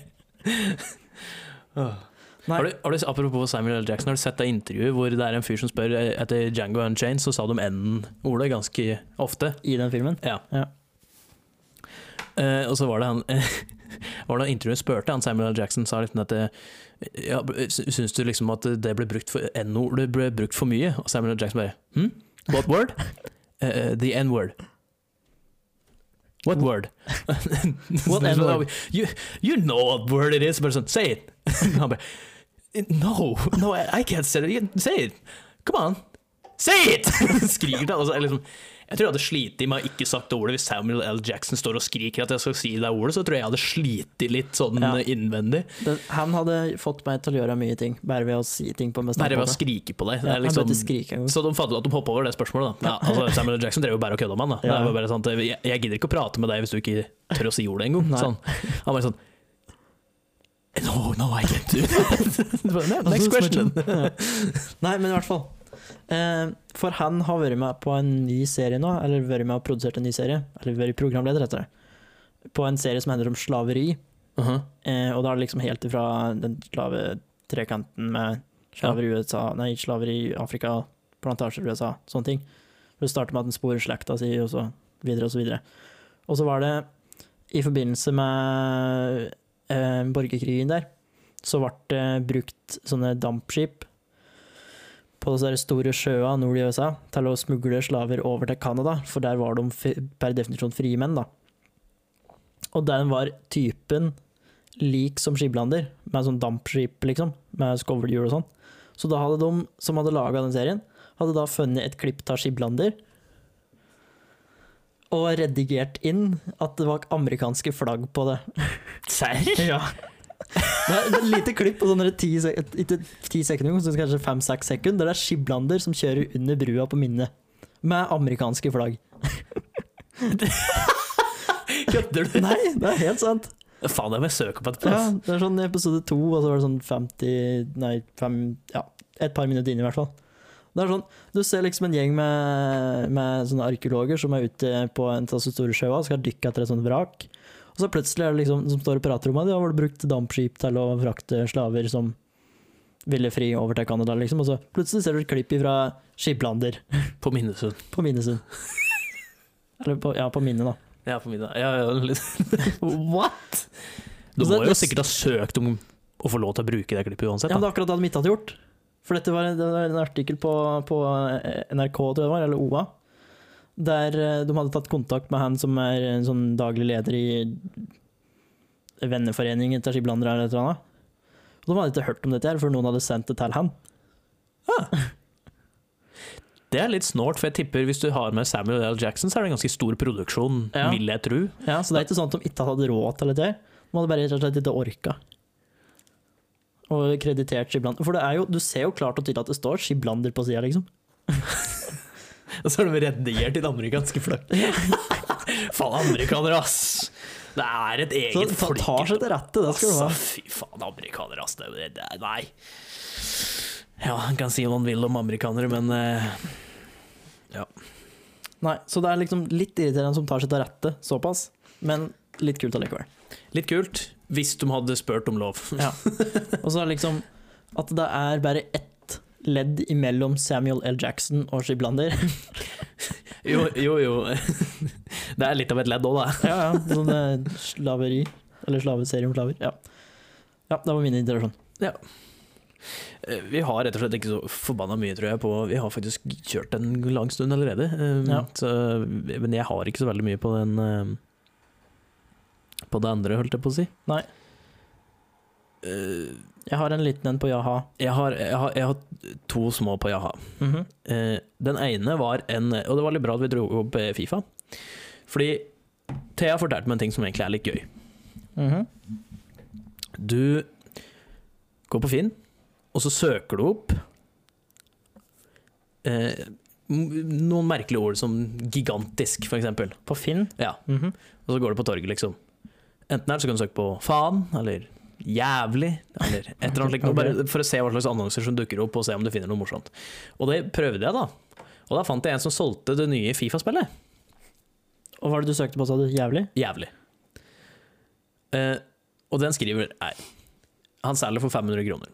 Har du, har du, apropos Samuel L. Jackson, har du sett det intervjuet hvor det er en fyr som spør eh, etter Django Unchained, så sa de N-ordet ganske ofte.
I den filmen?
Ja.
Ja.
Eh, og så var det han [laughs] Var det han intervjuet spurte han Samuel L. Jackson sa litt at eh, ja, sy- Syns du liksom at det ble brukt for N-ordet ble brukt for mye? Og Samuel L. Jackson bare hm? What word? [laughs] Eh, eh, the N-word. What word? [laughs]
What N-word?
You, you know what word it is. Bare sånn, say it. [laughs] han bare No, no, I, I can't say it. You- Say it. Come on. Say it! [laughs] skriker til alle. så er det Liksom, jeg tror jeg hadde slitt med å ikke sagt det ordet hvis Samuel L. Jackson står og skriker at jeg skal si det ordet, så tror jeg jeg hadde slitt litt sånn
Ja.
eh, innvendig.
Det, han hadde fått meg til å gjøre mye ting, bare ved å si ting på mest
Bare ved å skrike på deg. Det
Ja,
er
han burde
liksom,
skrike en gang. [laughs]
så de fant ut at de hoppa over det spørsmålet. Da. Ja, altså, Samuel L. Jackson drev jo bare og kødda med han. Da.
Ja.
Det var bare sånn at jeg, jeg gidder ikke å prate med deg hvis du ikke tør å si ordet engang.
Nei.
Sånn. Han bare sånn No, no, I can't do that. [laughs] Det bare, "Nei, Next question.
[laughs] Ja. Nei, men i hvert fall. Eh, for han har vært med på en ny serie nå, eller vært med og produsert en ny serie, eller vært programleder, heter det, på en serie som handler om slaveri.
Mhm.
Eh, og da er det liksom helt ifra den slavetrekanten med slaver i USA, nei, slaver i Afrika, plantasjer i USA, sånne ting. For det starter med at den sporer slekta si, og så videre og så videre. Og så var det i forbindelse med eh, borgerkrigen der, så ble det brukt sånne dampskip på disse der store sjøa nord i USA til å smugle slaver over til Canada, for der var de fri- per definisjon frie menn, da. Og den var typen lik som skiblander, med sånn dampskip, liksom, med skovlhjul og sånn. Så da hadde de som hadde laga den serien, hadde da funnet et klipp av skiblander og redigert inn at det var amerikanske flagg på det.
Serr?
Ja. Det er et lite klipp på sånn der ti, sek ikke ti sekunder, men sånn kanskje fem-seks sekunder, der det er skiblander som kjører under brua på minnet. Med amerikanske flagg.
Kødder du?
Nei, det er helt sant.
Faen, jeg må søke på et
Ja,
plass.
det er sånn i episode to, og så var det sånn 50 Nei, fem, ja, et par minutter inn i hvert fall. Det er sånn, Du ser liksom en gjeng med, med sånne arkeologer som er ute på en av de store sjøa og skal dykke etter et sånt vrak. Og så plutselig er det liksom som står og prater om at ja, var det brukt dampskip til å frakte slaver som ville fri over til Canada, liksom. Og så plutselig ser du et klipp fra Skiplander
På Minnesund.
på Minnesund. Eller på, ja, på minnet, da.
Ja, på middag. Ja, ja, litt. What?! Du
Så det-
må jo
det-
sikkert ha søkt om å få lov til å bruke det klippet uansett.
Ja, men
Da.
det er akkurat det de ikke hadde gjort. For dette var, det var en artikkel på, på eh, NRK, tror jeg det var, eller OA, der eh, de hadde tatt kontakt med han som er en sånn daglig leder i Venneforeningen til skiblandere eller et eller annet. Og de hadde ikke hørt om dette her før noen hadde sendt det til han.
Det er litt snålt, for jeg tipper hvis du har med Samuel L. Jackson, så er det en ganske stor produksjon,
Ja.
vil jeg tro.
Ja, så det er ikke sånn at de ikke hadde råd til dette her. De hadde bare rett og slett ikke orka. Og kreditert skiblander. For det er jo, du ser jo klart og tydelig at det står skiblander på sida, liksom.
[laughs] Og så har de redigert til amerikanske flagg. [laughs] faen, amerikanere, ass! Det er et
Så
eget
det tar seg til rette, det skal du ha.
Altså, fy faen, amerikanere, ass. Det, det, det, nei. Ja, en kan si hva man vil om amerikanere, men eh,
Nei, så det er liksom litt irriterende som tar seg til rette, såpass. Men litt kult [laughs] allikevel.
litt kult. Hvis de hadde spurt om lov.
Ja. Og så er det liksom at det er bare ett ledd imellom Samuel L. Jackson og Skiblander.
[laughs] Jo, jo, jo. [laughs] Det er litt av et ledd òg, da.
[laughs] Ja, ja. [laughs] Sånn eh, slaveri. Eller slaveserie om slaver. Ja. ja, det var min interaksjon.
Eh, Vi har rett og slett ikke så forbanna mye, tror jeg, på Vi har faktisk kjørt en lang stund allerede. eh,
Ja.
Så, men jeg har ikke så veldig mye på den eh, På det andre, holdt jeg på å si.
Nei.
Eh,
Jeg har en liten en på Jaha.
Jeg har, jeg, har, jeg har to små på Jaha.
Mhm.
Eh, den ene var en Og det var litt bra at vi dro opp eh, Fifa. Fordi Thea fortalte meg en ting som egentlig er litt gøy.
Mhm.
Du går på Finn, og så søker du opp eh, m- noen merkelige ord som gigantisk, for eksempel.
På Finn.
Ja,
Mhm.
og så går du på torget, liksom. Enten her så kan du søke på faen, eller jævlig, eller et eller annet slikt.
[laughs]
noe, Bare for å se hva slags annonser som dukker opp, og se om du finner noe morsomt. Og det prøvde jeg, da. Og da fant jeg en som solgte det nye Fifa-spillet.
Og hva var det du søkte på, sa du? Jævlig?
Jævlig. Eh, og den skriver Nei, han selger for 500 kroner.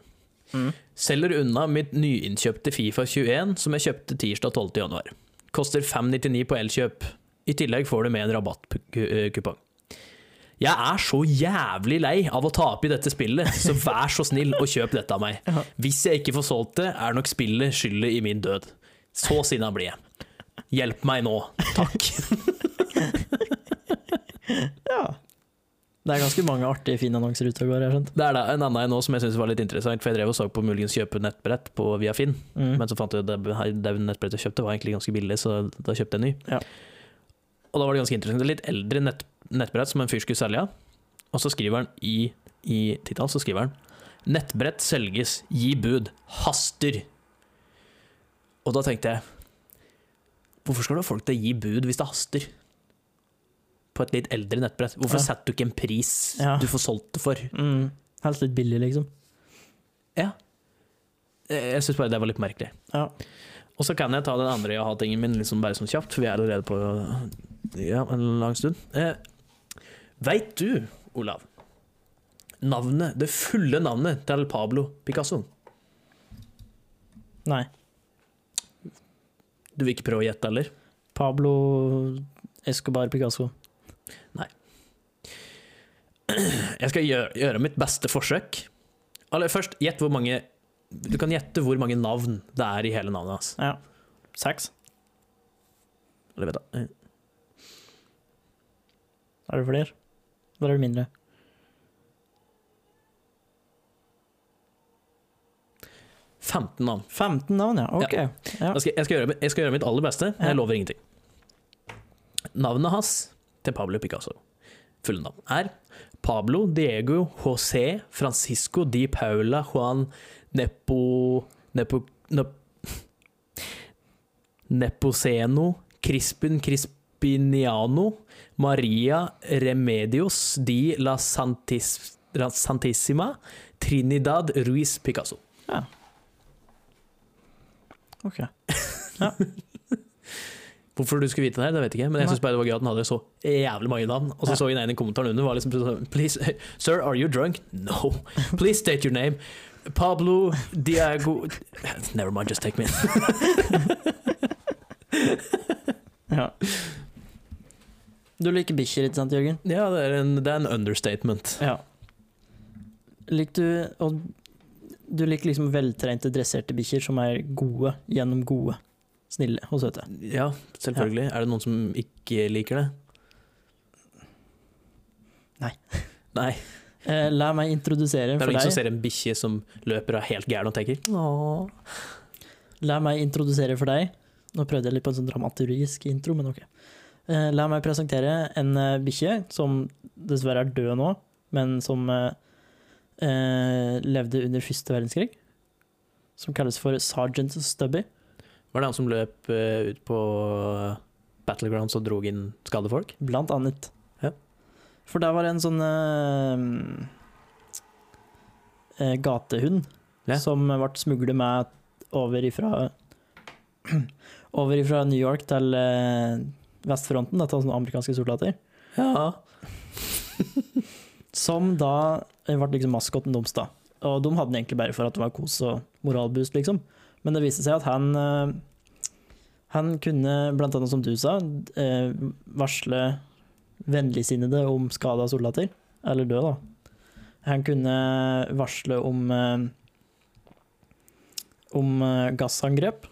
Mhm.
Selger unna mitt nyinnkjøpte Fifa 21, som jeg kjøpte tirsdag 12. januar. Koster 599 på elkjøp. I tillegg får du med en rabattkupong. Jeg er så jævlig lei av å tape i dette spillet, så vær så snill og kjøp dette av meg.
Ja.
Hvis jeg ikke får solgt det, er nok spillet skyldet i min død. Så sinna blir jeg. Hjelp meg nå, takk.
Ja. Det er ganske mange artige Finn-annonser ute og går, jeg har skjønt.
Det er da en annen nå som jeg synes var litt interessant, for jeg drev og så på muligens kjøpe nettbrett på via Finn,
Mm.
men så fant jeg ut at det, det nettbrettet jeg kjøpte var egentlig ganske billig, så da kjøpte jeg en ny.
Ja.
Og da var det ganske interessant. Det er litt eldre nett, nettbrett som en fyr skulle selge, og så skriver han i, i tittelen, så skriver han Nettbrett selges, gi bud, haster. Og da tenkte jeg Hvorfor skal du ha folk til å gi bud hvis det haster? På et litt eldre nettbrett. Hvorfor
Ja.
setter du ikke en pris
Ja.
du får solgt det for?
Mm. Helst litt billig, liksom.
Eh, Jeg syns bare det var litt merkelig.
Ja.
Og så kan jeg ta den andre jeg har tingen min liksom bare sånn kjapt, for vi er allerede på ja, en lang stund. Eh, Veit du, Olav, navnet, det fulle navnet til Pablo Picasso?
Nei.
Du vil ikke prøve å gjette, eller?
Pablo Escobar Picasso.
Jeg skal gjøre, gjøre mitt beste forsøk. Eller først, gjett hvor mange Du kan gjette hvor mange navn det er i hele navnet hans.
Ja. Seks.
Eller vet jeg.
Er det flere? Eller er det mindre?
eh, 15 navn.
15 navn, ja. Ok. Ja.
Jeg skal, jeg, skal gjøre, jeg skal gjøre mitt aller beste, men jeg
Ja.
lover ingenting. Navnet hans til Pablo Picasso, fulle navn, er Pablo Diego José Francisco Di Paula Juan Nepo... Nepo... Nep, Neposeno Crispin Crispiniano Maria Remedios Di La Santis, La Santissima Trinidad Ruiz Picasso.
Ok.
Hvorfor du skulle vite det her, det vet jeg ikke, men jeg
Nei.
synes bare det var gøy at den hadde så jævlig mange navn. Og så
Ja.
så jeg en i kommentaren under var liksom sånn Please, [laughs] sir, are you drunk? [laughs] No. Please state your name. Pablo Diago Never mind, just take me.
[laughs] Ja. Du liker bikkjer, ikke sant, Jørgen?
[laughs] Ja, det er en, det er en understatement.
Ja. Liker du og Du liker liksom veltrente, dresserte bikkjer som er gode gjennom gode. Snille og søte.
Ja, selvfølgelig. Er det noen som ikke liker det?
Nei.
Nei.
Eh, la meg introdusere
Det er
for
ingen som
deg
ser en bikkje som løper av helt gæren og tenker Åh.
La meg introdusere for deg Nå prøvde jeg litt på en sånn dramaturgisk intro, men ok. Eh, La meg presentere en eh, bikkje som dessverre er død nå, men som eh, eh, levde under første verdenskrig. Som kalles for Sergeant Stubby.
Var det han som løp eh, ut på eh, battlegrounds og drog inn skadefolk?
Blant annet.
Ja.
For der var det en sånn eh, eh, gatehund
Ja.
som ble smuglet med over ifra [clears throat] Over ifra New York til eh, vestfronten, dette var sånne amerikanske soldater.
Ja.
Som da ble liksom maskoten deres, da. Og de hadde den egentlig bare for at det var kos og moralboost, liksom. Men det viste seg at han eh, Han kunne, blant annet som du sa, eh, varsle vennligsinnede om skada soldater. Eller død, da. Han kunne varsle om eh, Om eh, gassangrep.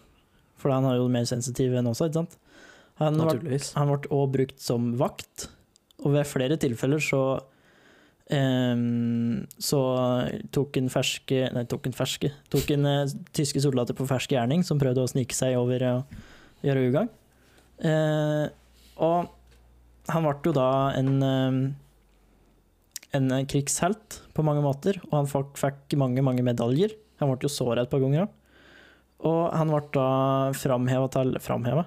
For han er jo mer sensitiv enn oss, ikke sant? Han ble
Naturligvis.
han ble også brukt som vakt, og ved flere tilfeller så ehm, Så tok en ferske Nei, tok en ferske Tok en eh, tyske soldater på fersk gjerning som prøvde å snike seg over og gjøre ugagn. Eh, og han ble jo da en ehm, en krigshelt på mange måter, og han fikk, fikk mange, mange medaljer. Han ble jo såret et par ganger òg. Og han ble da framheva til Framheva?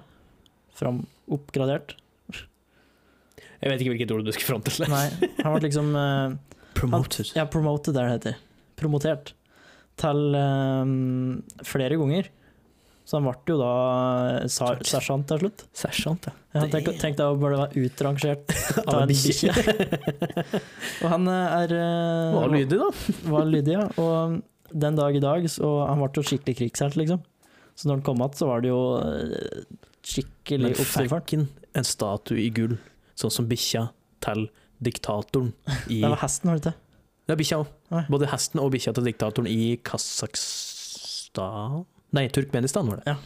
Fram, oppgradert?
Jeg vet ikke hvilket ord du skal fram til.
Nei, han ble liksom eh,
Promoted.
Ja, promoted er det det heter. Promotert. Til eh, flere ganger. Så han ble jo da eh, sar-
Takk.
sersjant til slutt.
Sersjant, ja.
Ja, tenk, tenk deg å bare være utrangert [laughs] av en bikkje.
[laughs]
[laughs] Og han eh, er eh,
Hva lydig, da?
[laughs] var lydig, ja. Og eh, den dag i dag, så han ble jo skikkelig krigshelt, liksom. Så når han kom igjen, så var det jo eh, skikkelig
Men
oppstyr. for han.
fanken, en statue i gull, sånn som bikkja til diktatoren
[laughs]
i
Det var hesten, var det ikke?
Det er bikkja òg.
Nei.
Både hesten og bikkja til diktatoren i Kasakhstan Nei, Turkmenistan var det.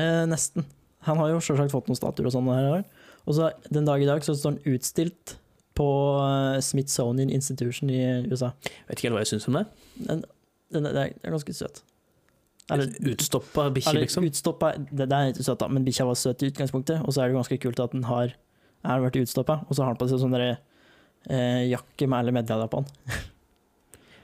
Eh, nesten. Han har jo selvsagt fått noen statuer og sånn. her og der. Og så den dag i dag så står han utstilt på eh, Smithsonian Institution i USA.
Vet ikke helt hva jeg syns om det.
Den, den, den er ganske søt.
Utstoppa bikkje,
eller
liksom.
utstoppa det, det er ikke søt, da, men bikkja var søt i utgangspunktet. Og så er det ganske kult at den har er vært utstoppa, og så har den på seg sånn derre eh, jakke med alle medaljer på den.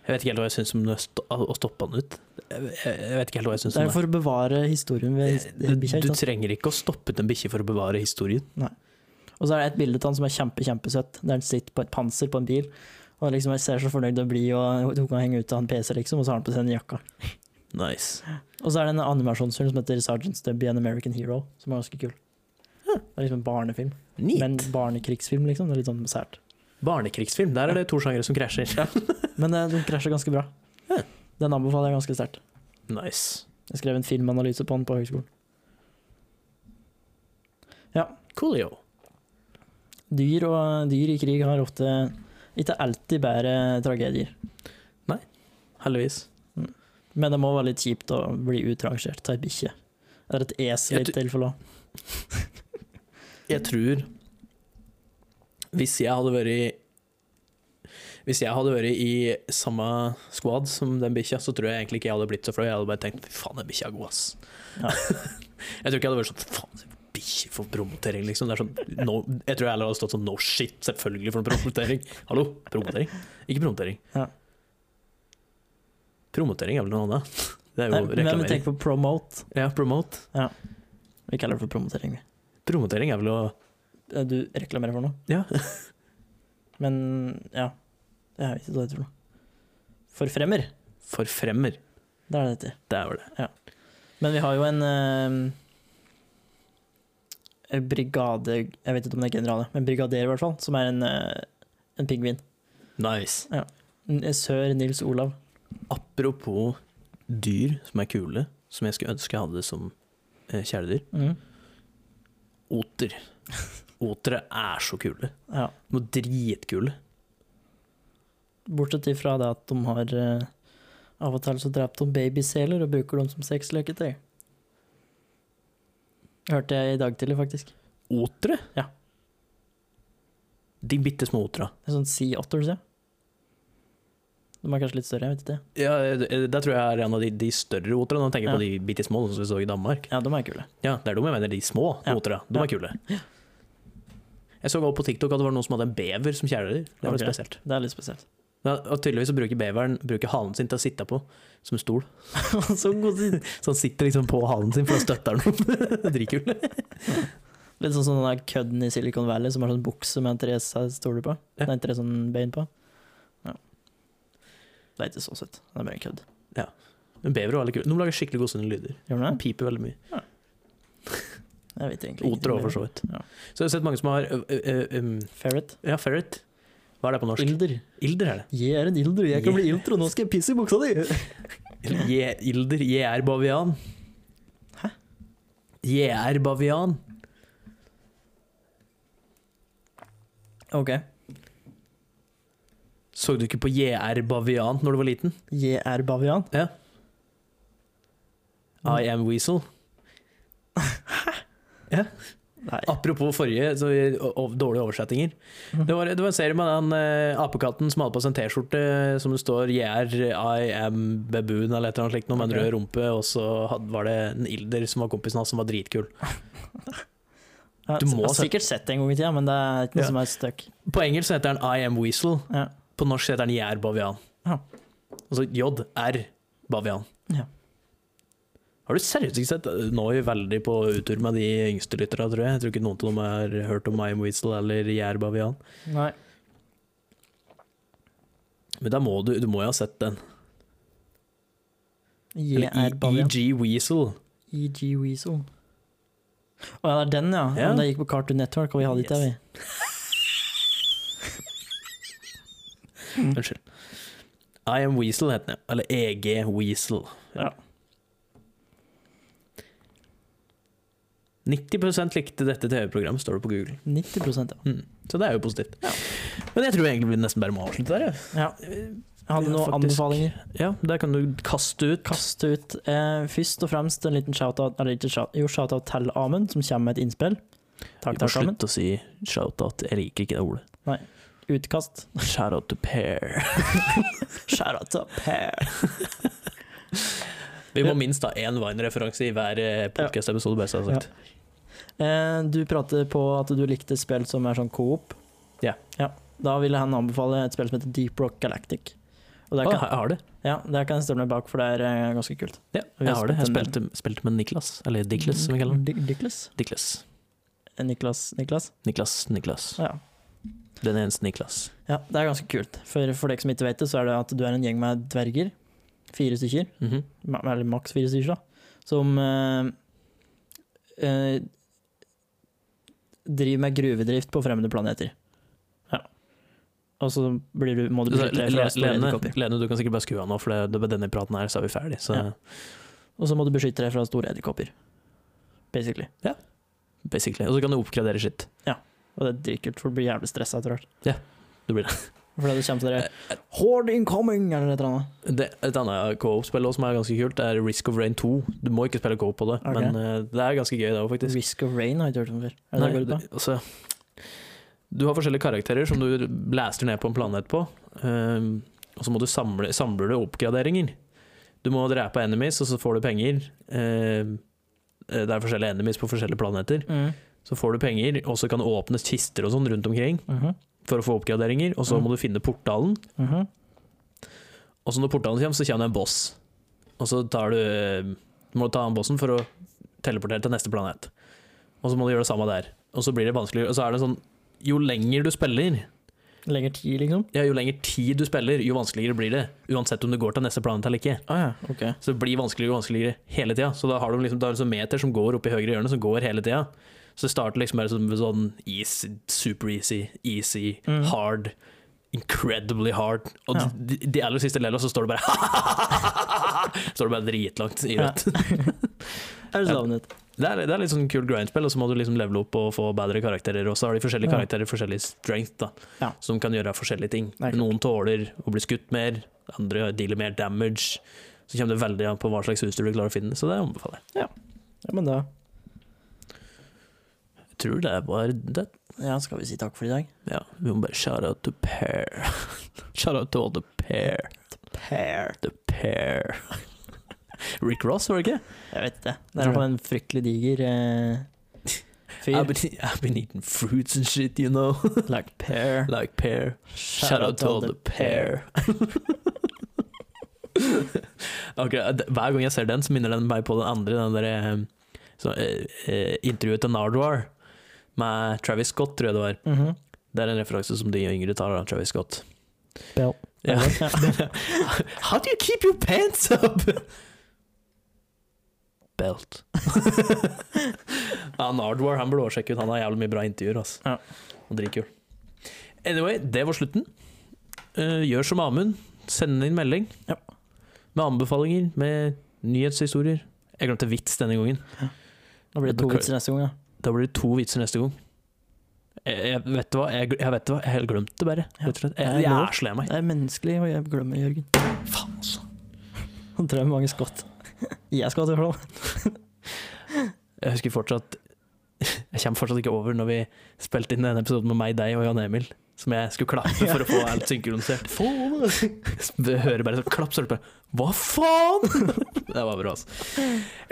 Jeg vet ikke helt hva jeg syns om det sto- å stoppe den ut. Jeg jeg vet ikke helt hva jeg syns
Det
om
er
det.
for å bevare historien ved his-
Du,
bikkja.
Eh, du
ikke sant?
trenger ikke å stoppe ut en bikkje for å bevare historien.
Og så er det et bilde av han som er kjempe, kjempesøtt, der han sitter på et panser på en bil. Og liksom jeg ser så fornøyd og blid, og hun kan henge ut av en PC, liksom, og så har han på seg en jakka.
Nice.
Og så er det en animasjonsfilm som heter Sergeant Stubby and American Hero, som er ganske kul. Det er liksom en barnefilm,
Neat.
men barnekrigsfilm, liksom. Det er litt sånn sært.
Barnekrigsfilm. Der er det to sjangere som krasjer.
Men eh, den krasjer ganske bra.
Ja.
Den anbefaler jeg ganske sterkt.
[laughs] Nice.
Jeg skrev en filmanalyse på den på høgskolen.
Coolio.
Dyr og dyr i krig har ofte ikke alltid bedre tragedier,
Heldigvis.
men det må være litt kjipt å bli utrangert av ei bikkje. Eller et esel i
Jeg
et tilfelle òg.
Jeg tror Hvis jeg hadde vært i- Hvis jeg hadde vært i samme squad som den bikkja, så tror jeg egentlig ikke jeg hadde blitt så flau. Jeg hadde bare tenkt fy faen, den bikkja er god, ass.
Ja.
[laughs] jeg tror ikke jeg hadde vært sånn faen, så bikkje for promotering, liksom. Det er sånn, no, jeg tror jeg heller hadde stått sånn no shit, selvfølgelig for en promotering. Hallo, promotering? Ikke promotering.
Ja.
Promotering er vel noe annet? Det er jo
Men vi
reklamering.
tenker på promote.
Ja, promote.
Vi kaller det for promotering. vi.
Promotering er vel å
Eh, Du reklamerer for noe.
Ja.
[laughs] Men ja, jeg vet ikke hva det heter for noe. Forfremmer,
Forfremmer.
det er det det heter.
Det er vel det.
Men vi har jo en eh, en brigade Jeg vet ikke om det er general, men brigader i hvert fall, som er en, eh, en pingvin.
Nice.
N- Sør Nils Olav.
Apropos dyr som er kule, som jeg skulle ønske jeg hadde som eh, kjæledyr. Oter. [laughs] Otere er så kule.
Ja.
De er dritkule.
Bortsett ifra det at de har eh, av og til så drept de babyseler og bruker dem som sexleketøy. Hørte jeg i dag tidlig, faktisk.
Otere?
Ja.
De bitte små otera.
Det er sånn Sea Otters, ja. De er kanskje litt større, jeg vet ikke.
Ja, det, det tror jeg er en av de, de større oterne. Nå tenker jeg
Ja.
på de bitte små sånn som vi så i Danmark.
Ja, de er kule.
Ja, det er de jeg mener, de små
Ja.
otera. De
Ja.
er kule. Jeg så også på TikTok at det var noen som hadde en bever som kjæledyr. Det var litt
Ok.
spesielt.
Det er litt spesielt.
Ja, og tydeligvis så bruker beveren bruker halen sin til å sitte på, som stol. [laughs]
så god tid.
Så han sitter liksom på halen sin for å støtte [laughs] den. Dritkul.
Litt sånn som den der kødden i Silicon Valley som har sånn bukse med tre sa- stoler på.
Ja.
Nei, tre sånn bein på. Ja. Det er ikke så søtt. Det er bare en kødd.
Men bever er veldig kul. De lager skikkelig godsende lyder.
Gjør
De
den det?
piper veldig mye.
Jeg vet egentlig
Oter
ingenting
òg,
mer.
for så vidt.
Ja.
Så jeg har sett mange som har ø, ø, ø, um,
Ferret.
Ja, ferret. Hva er det på norsk?
Ilder.
Ilder er det.
Jeg er en ilder, jeg kan bli ilder, og nå skal jeg pisse i buksa di!
Je, ilder. Jeg er bavian.
Hæ?
Jeg er bavian.
Ok.
Så du ikke på Jeg er bavian når du var liten?
Jeg er bavian.
I am weasel.
Nei.
Apropos forrige, så og, og, dårlige oversettinger.
Mhm.
Det var, det var en serie med den eh, apekatten som hadde på seg en T-skjorte eh, som det står JR, I am baboon eller et eller annet slikt, noe med en
Ok.
rød rumpe, og så had, var det en ilder som var kompisen hans som var dritkul.
Ja,
du må
Ah, jeg har
se-
sikkert sett det en gang i tida, men det er ikke noe
Ja.
som er stuck.
På engelsk så heter den I am weasel,
Ja.
på norsk så heter den JR bavian.
Ja.
Altså JR bavian.
Ja.
Har du seriøst ikke sett eh, Nå er vi veldig på utur med de yngste lytterne, tror jeg. Jeg tror ikke noen av dem har hørt om I am weasel eller JR bavian.
Nei.
Men da må du, du må jo ha sett den.
Jeg
Eller E
er bavian.
EG Weasel.
EG Weasel. Å ja, det er den, ja.
Ja.
Men det gikk på Cartoon Network, og vi hadde ikke det, vi. Mm.
Unnskyld. I Am Weasel heter den, ja. eller EG Weasel.
Ja.
90 likte dette TV-programmet, står det på Google.
90 ja.
Mm. Så det er jo positivt.
Ja.
Men jeg tror egentlig vi nesten bare må avslutte der. jeg.
ja. Jeg hadde
Ja,
noen
faktisk.
anbefalinger.
Ja, der kan du kaste ut.
Kaste ut eh, først og fremst en liten shout-out eller ikke shout, jo, shout-out til Amund, som kommer med et innspill. Takk,
Vi må
takk, Amund.
slutte å si shout-out. Jeg liker ikke det ordet.
utkast.
Shout out to
[laughs]
Pear.
Shout out to Pear.
Vi må minst ha én Vine-referanse i hver podkast-episode, bare så det er sagt.
Eh, du prater på at du likte spill som er sånn coop.
Ja.
Da ville han anbefale et spill som heter Deep Rock Galactic. Og det
Å,
kan,
jeg har det.
ja, det kan jeg stille meg bak, for det er eh, ganske kult.
Ja,
Vi
jeg
har
har det. Jeg
spilt
spilte, spilte med Niklas, eller Diklas, som vi kaller han.
Di- Diklas?
Diklas.
Eh, Niklas? Niklas?
Niklas, Niklas.
Ja.
Den eneste Niklas.
ja, det er ganske kult. For, for deg som ikke vet det, så er det at du er en gjeng med dverger. Fire stykker.
Mhm.
ma- eller maks fire stykker, da, som eh, eh, driver med gruvedrift på fremmede planeter. Ja. Og så blir du, må du bli
Så,
skutt fra
Le-
store
Lene,
edderkopper.
Lene, du kan sikkert bare skru av nå, for det, det, med denne praten her så er vi ferdig. Så
Ja. Og så må du beskytte deg fra store edderkopper. Basically.
basically. Og så kan du oppgradere shit.
Og det er dritkult, for du blir jævlig stressa etter hvert.
Ja, du
[laughs]
blir det. Eh,
Fordi det kommer til dere Horde incoming! Eller et eller annet.
Det, et annet co-op-spill også som er ganske kult, er Risk of Rain 2. Du må ikke spille co-op på det,
Ok.
men eh, det er ganske gøy, det òg, faktisk.
Risk of rain har jeg ikke hørt om før. Er det det
Nei,
går ut på?
det- altså, du har forskjellige karakterer som du blaster ned på en planet på. ehm, og så må du samle, samler du oppgraderinger. Du må drepe enemies, og så får du penger. Ehm, det er forskjellige enemies på forskjellige planeter.
Mm.
Så får du penger, og så kan det åpnes kister og sånn rundt omkring
Mhm.
for å få oppgraderinger. Og så
Mm.
må du finne portalen,
Mhm.
og så når portalen kommer, så kommer det en boss. Og så tar du, ehm, må du ta den bossen for å teleportere til neste planet. Og så må du gjøre det samme der. Og så blir det vanskeligere. Og så er det sånn Jo lenger du spiller,
Lenger tid, liksom?
ja, jo lenger tid du spiller, jo vanskeligere blir det. Uansett om du går til neste planet eller ikke.
Ah, ja. Ok.
Så det blir vanskeligere og vanskeligere hele tida. Så da har du liksom, da er det sånn meter som går opp i høyre hjørne, som går hele tida. Så det starter liksom bare som sånn easy, super easy, easy,
Mm.
hard, incredibly hard. Og
Ja.
de, de aller siste lella, så står det bare [laughs] Står det bare dritlangt i
Ja. [laughs]
rødt.
Er det sånn ut?
Det, er, det er litt sånn kult grindspill, og så må du liksom levele opp og få bedre karakterer. Og så har de forskjellige
Ja.
karakterer, forskjellig strength, da,
Ja.
som kan gjøre forskjellige ting.
Det er klart.
Noen tåler å bli skutt mer, andre dealer mer damage. Så kommer det veldig an på hva slags utstyr du klarer å finne, så det anbefaler jeg.
Ja, men da
Jeg tror det var det.
Ja, skal vi si takk for i dag?
Ja, vi må bare shout out to pair. [laughs] shout out to all the pair.
Pair.
The pair. Rick Ross, var det ikke?
Jeg vet det. Det er i hvert fall en fryktelig diger eh, [laughs] fyr.
I've been, I've been eating fruits and shit, you know.
Like pear.
[laughs] like pair. Shout out to all the pair. [laughs] ok, d- Hver gang jeg ser den, så minner den meg på den andre. Den der, eh, så, eh, eh, intervjuet til Nardwar med Travis Scott, tror jeg det var.
Mhm.
Det er en referanse som de yngre tar av Travis Scott.
Bell.
Ja. [laughs] How do you keep your pants up?
[laughs]
Belt. ja, Nardwar han burde også sjekke ut. Han har jævlig mye bra intervjuer. Altså.
Ja.
Og dritkul. Anyway, det var slutten. Eh, gjør som Amund. Send inn melding
Ja.
med anbefalinger, med nyhetshistorier. Jeg glemte vits denne gangen.
Nå blir det to
Beklager.
vitser neste gang, ja.
Da blir det to vitser neste gang. Jeg, jeg vet du hva, jeg, jeg vet du hva, jeg har glemt det bare.
Ja.
Rett og slett.
Det
Jeg,
er
jeg
lov.
er så lei meg.
Det er menneskelig, og jeg glemmer Jørgen. [laughs]
Faen, altså.
Han tror jeg mange skott. [laughs] Jeg skal til Flåm.
Jeg husker fortsatt [laughs] Jeg kommer fortsatt ikke over når vi spilte inn denne episoden med meg, deg og Jan Emil. Som jeg skulle [laughs] klappe for å få alt synkronisert. Vi hører bare sånn klapp, så er det bare Hva faen?! [laughs] Det var bra, altså.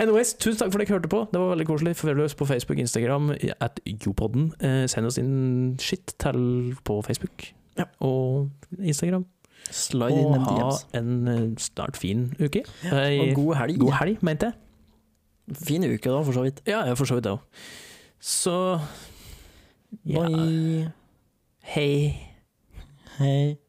Anyways, tusen takk for at dere hørte på. Det var veldig koselig. Følg oss på Facebook, Instagram, at Jopodden. Eh, send oss inn shit til på Facebook
Ja.
og Instagram.
Slide in
Og
them
ha
DMs.
en eh, snart fin uke.
[laughs] Og
Ei,
god helg.
god helg, mente jeg.
Fin uke, da, for så vidt.
Ja, ja, for så vidt det òg. Så ja.
Bye.
Hei.
Hei.